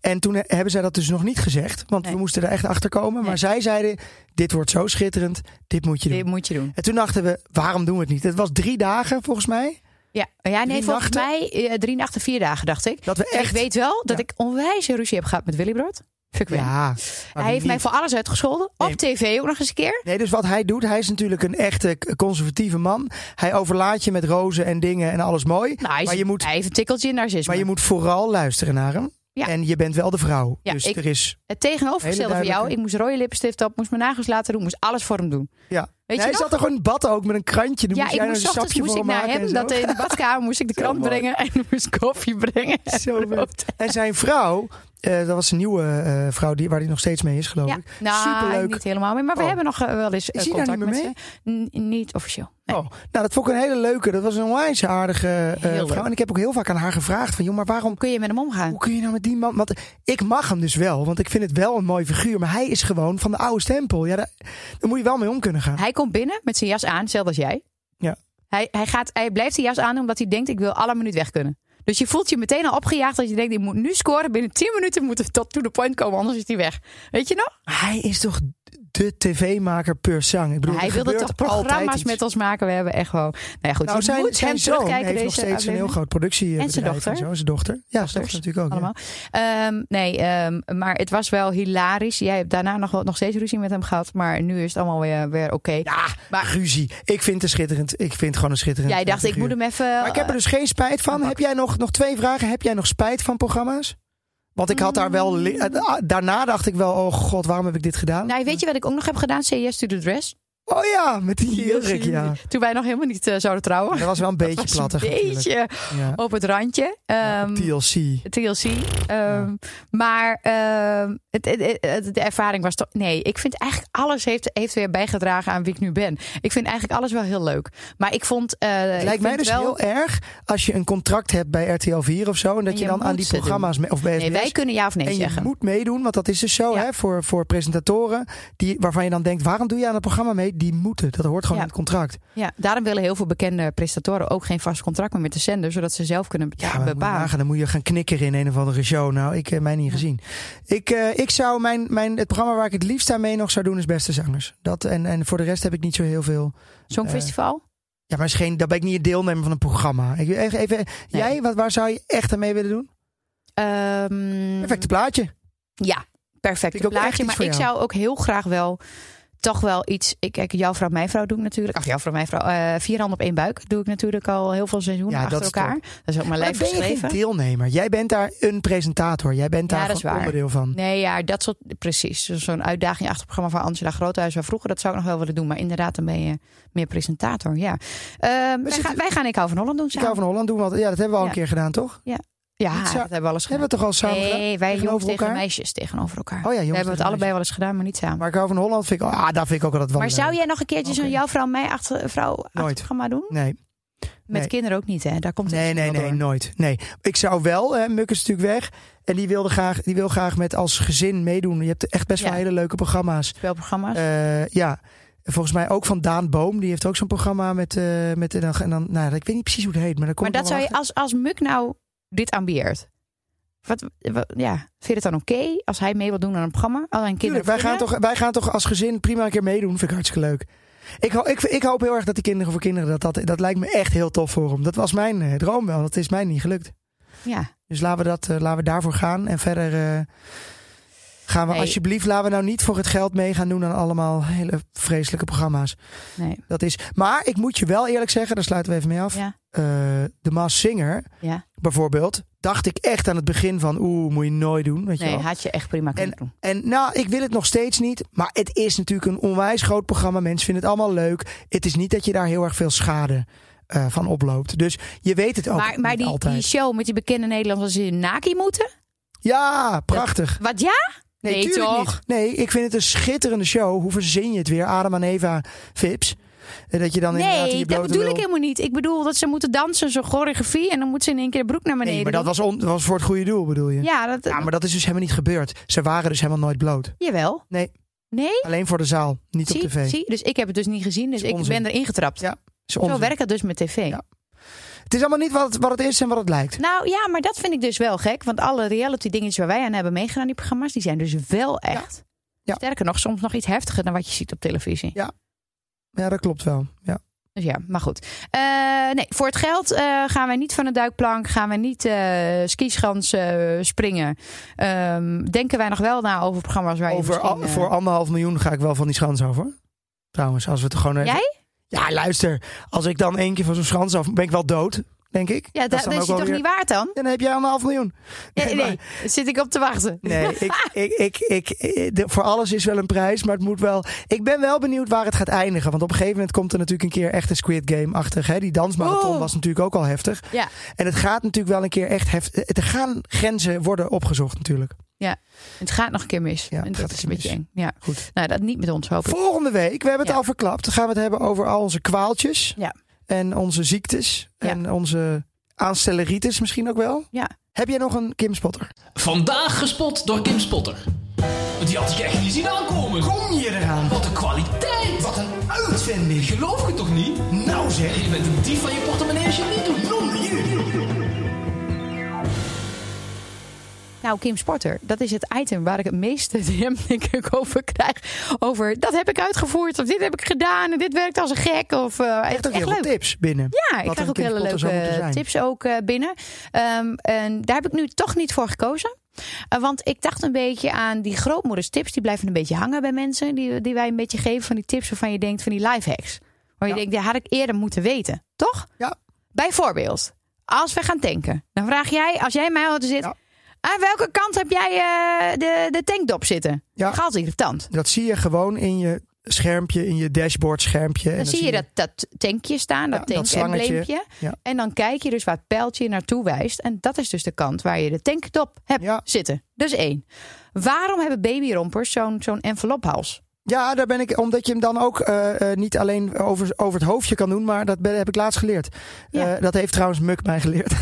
En toen he- hebben zij dat dus nog niet gezegd. Want Nee. we moesten er echt achter komen. Maar Nee. zij zeiden, dit wordt zo schitterend. Dit moet je doen. Dit moet je doen. En toen dachten we, waarom doen we het niet? Het was drie dagen volgens mij. Ja, ja nee, Drie volgens nachten? mij eh, drie nachten, vier dagen dacht ik. Dat we En echt... Ik weet wel dat Ja. ik onwijs ruzie heb gehad met Willy Brood. ja, Ja, maar wie hij heeft mij niet? voor alles uitgescholden. Nee. Op tv ook nog eens een keer. Nee, dus wat hij doet, hij is natuurlijk een echte k- conservatieve man. Hij overlaat je met rozen en dingen en alles mooi. Nou, hij, is, Maar je moet- hij heeft een tikkeltje narcisme. Maar je moet vooral luisteren naar hem. Ja. En je bent wel de vrouw. Ja, dus ik- er is. Het tegenovergestelde Hele van jou. duidelijke. Ik moest rode lipstift op, moest mijn nagels laten doen, moest alles voor hem doen. Ja. Weet hij je nog? zat er gewoon in bad ook met een krantje. Dan ja, moest ik jij moest nog een ochtends sapje moest voor ik naar maken hem, en dat eh, zo. in de badkamer moest ik de krant mooi. brengen en moest koffie brengen. Zo En mooi. En zijn vrouw, eh, dat was een nieuwe eh, vrouw die, waar hij nog steeds mee is, geloof Ja, ik. nou, Superleuk. niet helemaal meer, maar we Oh. hebben nog eh, wel eens eh, Is hij daar contact niet meer met ze. N- niet officieel. Nee. Oh, nou, dat vond ik een hele leuke. Dat was een onwijs aardige eh, Heel leuk. vrouw. En ik heb ook heel vaak aan haar gevraagd van, joh, maar waarom... Kun je met hem omgaan? Hoe kun je nou met die man... Want ik mag hem dus wel, want ik vind het wel een mooi figuur. Maar hij is gewoon van de oude stempel. Ja, daar, daar moet je wel mee om kunnen gaan. Hij komt binnen met zijn jas aan, hetzelfde als jij. Ja. Hij, hij, gaat, hij blijft zijn jas aan doen omdat hij denkt, ik wil alle minuut weg kunnen. Dus je voelt je meteen al opgejaagd dat je denkt, ik moet nu scoren. Binnen 10 minuten moet het tot to the point komen, anders is hij weg. Weet je nog? Hij is toch de tv-maker per sang. Ik bedoel, hij er wilde gebeurt toch altijd programma's iets. met ons maken. We hebben echt gewoon... Nou ja, goed, Nou, je zijn, moet zijn hem zoon heeft terugkijken nog deze steeds een heel aflevering. groot productiebedrijf. En zijn dochter. zo, zijn dochter. Ja, zijn dochter Dochters, natuurlijk ook. ja. allemaal. Ehm, nee, ehm, maar het was wel hilarisch. Jij hebt daarna nog, wel- nog steeds ruzie met hem gehad. Maar nu is het allemaal weer, weer oké. Ja, Maar- ruzie. Ik vind het schitterend. Ik vind het gewoon een schitterend. Jij dacht, ik figuur. moet hem even... Maar ik heb er dus geen spijt van. Heb jij nog, nog twee vragen? Heb jij nog spijt van programma's? Want ik had daar wel. li- eh, ah, Daarna dacht ik wel, oh god, waarom heb ik dit gedaan? Nou, weet je wat ik ook nog heb gedaan? CES to the dress. Oh ja, met die jurk, ja. Toen wij nog helemaal niet eh, zouden trouwen. Dat was wel een beetje was plattig. een natuurlijk. beetje Ja. op het randje. Ehm, TLC. TLC. Ehm, Maar ehm, het, het- het- het- de ervaring was toch. Nee, ik vind eigenlijk alles heeft, heeft weer bijgedragen aan wie ik nu ben. Ik vind eigenlijk alles wel heel leuk. Maar ik vond. eh, ik Het lijkt mij vind dus wel... heel erg als je een contract hebt bij RTL 4 of zo. En dat En je, je dan aan moet die ze doen. programma's. mee- Of bij Nee, SBS wij kunnen ja of nee En je zeggen. moet meedoen, want dat is dus zo Ja. hè, voor, voor presentatoren. Die, waarvan je dan denkt, waarom doe je aan het programma mee? Die moeten. Dat hoort gewoon Ja. in het contract. Ja, daarom willen heel veel bekende prestatoren ook geen vast contract meer met de zender, zodat ze zelf kunnen Ja, maar moet je bepalen. nagaan, dan moet je gaan knikkeren in een of andere show. Nou, ik heb mij niet gezien. Ik, eh, ik zou mijn, mijn, het programma waar ik het liefst aan mee nog zou doen is Beste Zangers. Dat, en, en voor de rest heb ik niet zo heel veel. eh, Songfestival? Ja, maar is geen, dan ben ik niet een deelnemer van een programma. Ik, wil even, even, Jij, wat, waar zou je echt aan mee willen doen? Mhm. Ehm, Perfecte plaatje. Ja, Vind perfect ik ook echt plaatje. iets Maar voor ik jou. zou ook heel graag wel toch wel iets. Ik kijk, jouw vrouw, mijn vrouw doe ik natuurlijk. Ach, jouw vrouw, mijn vrouw. eh, vier handen op één buik doe ik natuurlijk al heel veel seizoenen Ja, achter dat is elkaar. Dat is ook mijn Maar lijf dan ben je geen geschreven. deelnemer. Jij bent daar een presentator. Jij bent Ja, daar dat is gewoon waar. onderdeel van. Nee, ja, dat soort. Precies. Dus Zo'n uitdaging achter het programma van Angela Groothuis van vroeger. Dat zou ik nog wel willen doen. Maar inderdaad, dan ben je meer presentator. Ja. Ehm, wij, zitten- gaan, wij gaan Ik Hou van Holland doen. Ik Samen. hou van Holland doen, want ja, dat hebben we al Ja. een keer gedaan, toch? Ja, Niet zo- dat hebben we alles gedaan. Hebben we het toch al samen gedaan? Nee, wij jongens tegenover tegen elkaar? meisjes tegenover elkaar. Oh ja, jongens we hebben het tegen allebei wel eens gedaan, maar niet samen. Maar ik hou van Holland, vind ik, ah, dat vind ik ook altijd wel Maar leuk. zou jij nog een keertje zo'n Oké. jouw vrouw, mij achter, vrouw achter Nooit. programma doen? Nee, Met Nee. kinderen ook niet, hè? Daar komt het nee, nee, wel nee, door. nooit. Nee. Ik zou wel, hè, Muk is natuurlijk weg. En die, wilde graag, die wil graag met als gezin meedoen. Je hebt echt best wel Ja. hele leuke programma's. Spelprogramma's. Eh, ja, volgens mij ook van Daan Boom. Die heeft ook zo'n programma met... eh met en dan, en dan, nou, ik weet niet precies hoe het heet, maar dan kom maar dat ik nog zou wel je, als, als Muk nou dit ambieert, wat, wat- ja, vind je het dan oké als hij mee wil doen aan een programma? Oh, Al een Tuurlijk, wij gaan, toch, wij gaan toch als gezin prima een keer meedoen. Vind ik hartstikke leuk. Ik, ho- ik, ik hoop heel erg dat die kinderen voor kinderen... Dat, dat, dat lijkt me echt heel tof voor hem. Dat was mijn eh, droom wel. Dat is mij niet gelukt. Ja, Dus laten we, dat, eh, laten we daarvoor gaan. En verder eh, gaan we Nee. alsjeblieft... Laten we nou niet voor het geld mee gaan doen aan allemaal hele vreselijke programma's. nee. Dat is, maar ik moet je wel eerlijk zeggen, daar sluiten we even mee af. Ja. Eh, de Maas Singer Ja. bijvoorbeeld... dacht ik echt aan het begin van... Oeh, moet je nooit doen. Weet je Nee, wel. had je echt prima kunnen doen. En nou, ik wil het nog steeds niet. Maar het is natuurlijk een onwijs groot programma. Mensen vinden het allemaal leuk. Het is niet dat je daar heel erg veel schade eh, van oploopt. Dus je weet het ook maar maar niet die, altijd. die show met die bekende Nederlanders die in Naki moeten? Ja, prachtig. Wat ja? Nee, tuurlijk toch? niet. Nee, ik vind het een schitterende show. Hoe verzin je het weer? Adam en Eva Vips. Eh, Dat je dan inderdaad in Nee, je dat blote bedoel lul- ik helemaal niet. Ik bedoel dat ze moeten dansen, zo'n choreografie. En dan moet ze in één keer de broek naar beneden. Nee, maar dat doen. was, on- dat was voor het goede doel, bedoel je? Ja, dat, Ja, maar dat is dus helemaal niet gebeurd. Ze waren dus helemaal nooit bloot. jawel. Nee. Nee? Alleen voor de zaal, niet zie, op tv. zie, dus ik heb het dus niet gezien, dus Is ik onzin. ben erin getrapt. Ja, Is Zo onzin. werkt het dus met tv. Ja. Het is allemaal niet wat het, wat het is en wat het lijkt. Nou ja, maar dat vind ik dus wel gek. Want alle reality dingetjes waar wij aan hebben meegedaan, die programma's, die zijn dus wel echt. Ja. Sterker nog, soms nog iets heftiger dan wat je ziet op televisie. Ja, dat klopt wel. Ja. Dus ja, maar goed. Eh, nee, voor het geld eh, gaan wij niet van de duikplank, gaan wij niet eh skischans eh, springen. Ehm, denken wij nog wel na over programma's waar je over misschien... al- eh, voor anderhalf miljoen ga ik wel van die schans over. Trouwens, als we het gewoon. even- Jij? Ja, luister. Als ik dan één keer van zo'n schans af, ben ik wel dood. denk ik. Ja, dat, dan is ook je wel toch weer- niet waard dan? Ja, dan heb jij al een half miljoen. Nee, nee, zit ik op te wachten. Nee, ik, ik, ik, ik, eh, de- voor alles is wel een prijs, maar het moet wel. Ik ben wel benieuwd waar het gaat eindigen. Want op een gegeven moment komt er natuurlijk een keer echt een Squid Game-achtig. hè. Die dansmarathon Oeh. was natuurlijk ook al heftig. Ja. En het gaat natuurlijk wel een keer echt heftig. Er gaan grenzen worden opgezocht natuurlijk. Het gaat nog een keer mis. Ja, en het dat gaat is een een keer beetje eng. Ja. Goed. Nou, dat niet met ons, hoop ik. Volgende week, we hebben het Ja. al verklapt, gaan we het hebben over al onze kwaaltjes. Ja. En onze ziektes. Ja. En onze aanstelleritis misschien ook wel. Ja. Heb jij nog een Kim Spotter? Vandaag gespot door Kim Spotter. Die had ik echt niet zien aankomen. Kom je eraan? Wat een kwaliteit! Wat een uitvinding. Geloof ik het toch niet? Nou zeg, Je bent een dief van je portemonnee als je het niet doet. noem je. Nou, Kim Sporter, dat is het item waar ik het meeste DM denk ik over krijg. Over dat heb ik uitgevoerd, of dit heb ik gedaan, en dit werkt als een gek. Of, eh Echt echt ook heel veel leuk. tips binnen. Ja, ik Wat krijg een ook hele Kim Spotter zou moeten leuke zijn. tips ook eh, binnen. Ehm, en daar heb ik nu toch niet voor gekozen. Eh, want ik dacht een beetje aan die grootmoeders tips. Die blijven een beetje hangen bij mensen. Die, die wij een beetje geven van die tips waarvan je denkt van die lifehacks. Waar je Ja. denkt, die had ik eerder moeten weten. Toch? Ja. Bijvoorbeeld, als we gaan tanken. Dan vraag jij, als jij mij altijd zit... Ja. Aan welke kant heb jij eh, de, de tankdop zitten? Ja. Gaat irritant. Dat zie je gewoon in je schermpje, in je dashboard schermpje. Dan, zie je dat, dat tankje staan, dat Ja, dat tankembleempje. slangetje. Ja. En dan kijk je dus waar het pijltje naartoe wijst. En dat is dus de kant waar je de tanktop hebt Ja. zitten. Dus één. Waarom hebben babyrompers zo'n zo'n envelophals? Ja, daar ben ik, omdat je hem dan ook eh, eh, niet alleen over, over het hoofdje kan doen, maar dat ben, heb ik laatst geleerd. Ja. Eh, dat heeft trouwens Muk mij geleerd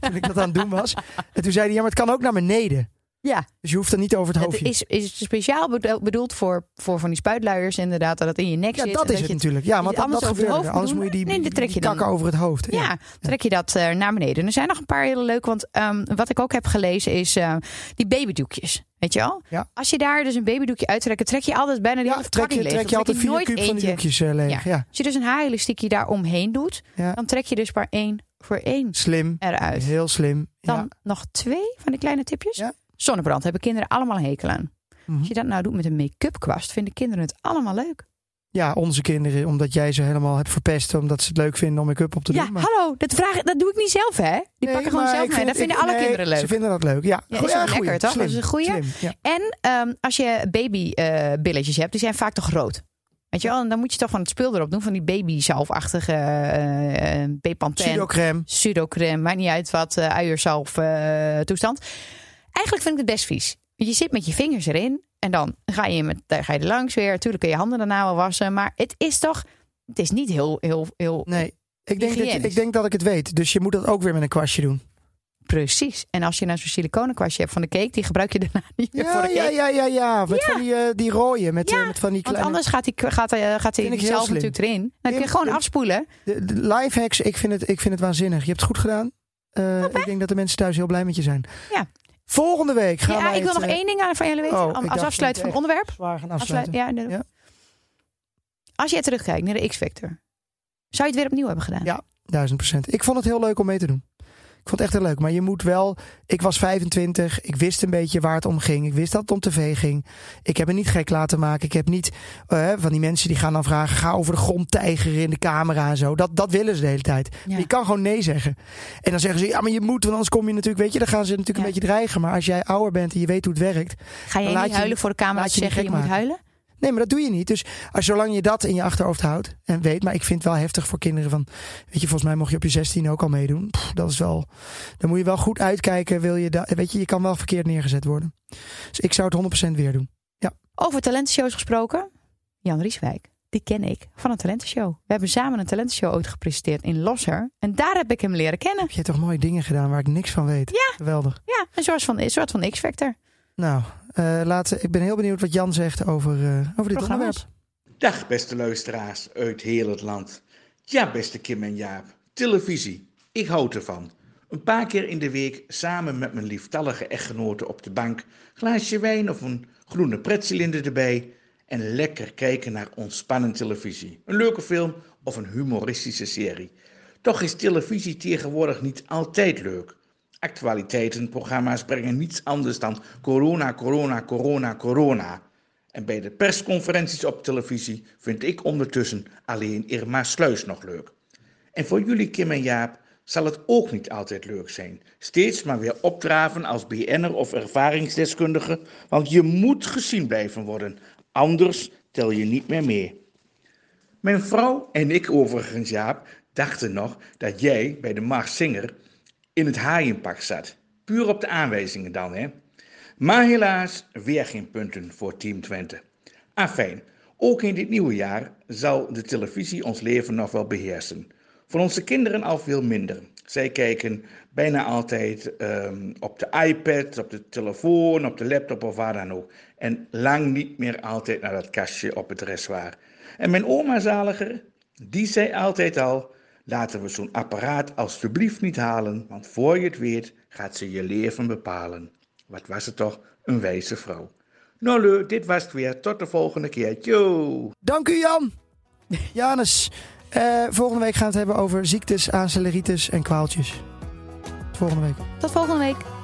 toen ik dat aan het doen was. En toen zei hij, ja, maar het kan ook naar beneden. Ja, Dus je hoeft dan niet over het dat hoofdje. is, is speciaal bedo- bedoeld voor, voor van die spuitluiers inderdaad. Dat het in je nek ja, zit. dat en is het je- natuurlijk. Ja, want dat, anders dat over je gebeurde. hoofd Anders doen. moet je die, Nee, dat trek je die dan. kakken over het hoofd. Ja. Ja, trek je dat eh, naar beneden. Er zijn nog een paar hele leuke, want ehm, wat ik ook heb gelezen is eh, die babydoekjes. Weet je wel? Ja. Als je daar dus een babydoekje uittrekt, trek je altijd bijna die Ja, hele trek verpakking je, leeg. trek je Dan altijd vier nooit kuub van die eentje. doekjes eh, leeg. Ja. Ja. Als je dus een haarelastiekje daar omheen doet, Ja. dan trek je dus maar één voor één Slim. eruit. Heel slim. Dan Ja. nog twee van die kleine tipjes. Ja. Zonnebrand hebben kinderen allemaal een hekel aan. Mhm. Als je dat nou doet met een make-up kwast, vinden kinderen het allemaal leuk. ja, onze kinderen, omdat jij ze helemaal hebt verpest, omdat ze het leuk vinden om make-up op te ja, doen. maar- hallo, dat, vraag, dat doe ik niet zelf, hè? Die Nee, pakken gewoon maar zelf ik mee. vind- Dat vinden ik- alle nee, kinderen leuk. Ze vinden dat leuk. Ja, Ja, is Goeie- ook lekker, goeie. toch? Dat is Slim, een goeie. slim, ja. En ehm, als je babybilletjes hebt, die zijn vaak toch rood. Weet je wel? En dan moet je toch van het spul erop doen, van die babyzalfachtige eh eh, Bepanthen. Pseudocrème. pseudocrème, maakt niet uit wat, eh uiersalf eh, toestand. Eigenlijk vind ik het best vies. Je zit met je vingers erin en dan ga je, met, daar ga je er langs weer. Tuurlijk kun je handen daarna wel wassen, maar het is toch... Het is niet heel, heel, heel Nee. Ik denk, dat, Hygiënisch. ik denk dat ik het weet. Dus je moet dat ook weer met een kwastje doen. precies. En als je nou zo'n siliconenkwastje hebt van de cake, die gebruik je daarna niet meer voor Ja, de cake. ja, ja, ja, ja. Met Ja. Van die, eh die rooien. Met, Ja, eh, met van die Want kleine anders gaat die, gaat, eh, gaat die, Vind ik die heel zelf slim. natuurlijk erin. Dan kun je Heel gewoon slim. afspoelen. de, de lifehacks. Ik vind, het, ik vind het waanzinnig. Je hebt het goed gedaan. Eh, ik denk dat de mensen thuis heel blij met je zijn. Ja. Volgende week gaan Ja, wij ik wil het, nog eh, één ding aan van jullie weten. oh, ik dacht als dat afsluiten van het het onderwerp. zwaar gaan Afsluit- afsluiten. ja, inderdaad. Ja. Als jij terugkijkt naar de X-Factor, zou je het weer opnieuw hebben gedaan? Ja. Duizend procent. Ik vond het heel leuk om mee te doen. Ik vond het echt heel leuk. Maar je moet wel... Ik was 25. Ik wist een beetje waar het om ging. Ik wist dat het om tv ging. Ik heb me niet gek laten maken. Ik heb niet eh, van die mensen die gaan dan vragen... ga over de grond tijger in de camera en zo. Dat, dat willen ze de hele tijd. Ja. Maar je kan gewoon nee zeggen. En dan zeggen ze... ja, maar je moet, want anders kom je natuurlijk... weet je, dan gaan ze natuurlijk Ja. een beetje dreigen. Maar als jij ouder bent en je weet hoe het werkt... Ga jij Dan laat niet je- huilen voor de camera laat te je niet zeggen je gek moet huilen? Nee, maar dat doe je niet. Dus als, zolang je dat in je achterhoofd houdt en weet. Maar ik vind het wel heftig voor kinderen van... Weet je, volgens mij mocht je op je 16 ook al meedoen. Pff, dat is wel... Dan moet je wel goed uitkijken. Wil je dat, weet je, je kan wel verkeerd neergezet worden. Dus ik zou het 100% weer doen. Over talentenshows gesproken. Jan Rieswijk, die ken ik van een talentenshow. We hebben samen een talentenshow ooit gepresenteerd in Losser. En daar heb ik hem leren kennen. Heb jij toch mooie dingen gedaan waar ik niks van weet. Ja. Geweldig. Ja, een soort van, een soort van X-Factor. Nou, eh, laten, ik ben heel benieuwd wat Jan zegt over, eh, over dit Programma's. onderwerp. Dag beste luisteraars uit heel het land. Ja, beste Kim en Jaap, televisie. Ik houd ervan. Een paar keer in de week samen met mijn lieftallige echtgenoten op de bank, glaasje wijn of een groene pretcilinder erbij en lekker kijken naar ontspannende televisie. Een leuke film of een humoristische serie. Toch is televisie tegenwoordig niet altijd leuk. Actualiteitenprogramma's brengen niets anders dan corona, corona, corona, corona. En bij de persconferenties op televisie vind ik ondertussen alleen Irma Sluis nog leuk. En voor jullie, Kim en Jaap, zal het ook niet altijd leuk zijn. Steeds maar weer opdraven als BN'er of ervaringsdeskundige, want je moet gezien blijven worden, anders tel je niet meer mee. Mijn vrouw en ik overigens, Jaap, dachten nog dat jij bij de Mars Singer in het haaienpak zat. Puur op de aanwijzingen dan, hè? Maar helaas weer geen punten voor Team Twente. Afijn, ook in dit nieuwe jaar zal de televisie ons leven nog wel beheersen. Voor onze kinderen al veel minder. Zij kijken bijna altijd ehm, op de iPad, op de telefoon, op de laptop of waar dan ook. En lang niet meer altijd naar dat kastje op het dressoir. En mijn oma zaliger, die zei altijd al, laten we zo'n apparaat alstublieft niet halen, want voor je het weet gaat ze je leven bepalen. Wat was het toch, een wijze vrouw. Nou Leu, dit was het weer. Tot de volgende keer. Tjoe! Dank u, Jan. Janus, eh, volgende week gaan we het hebben over ziektes, aanceleritis en kwaaltjes. Volgende week. Tot volgende week.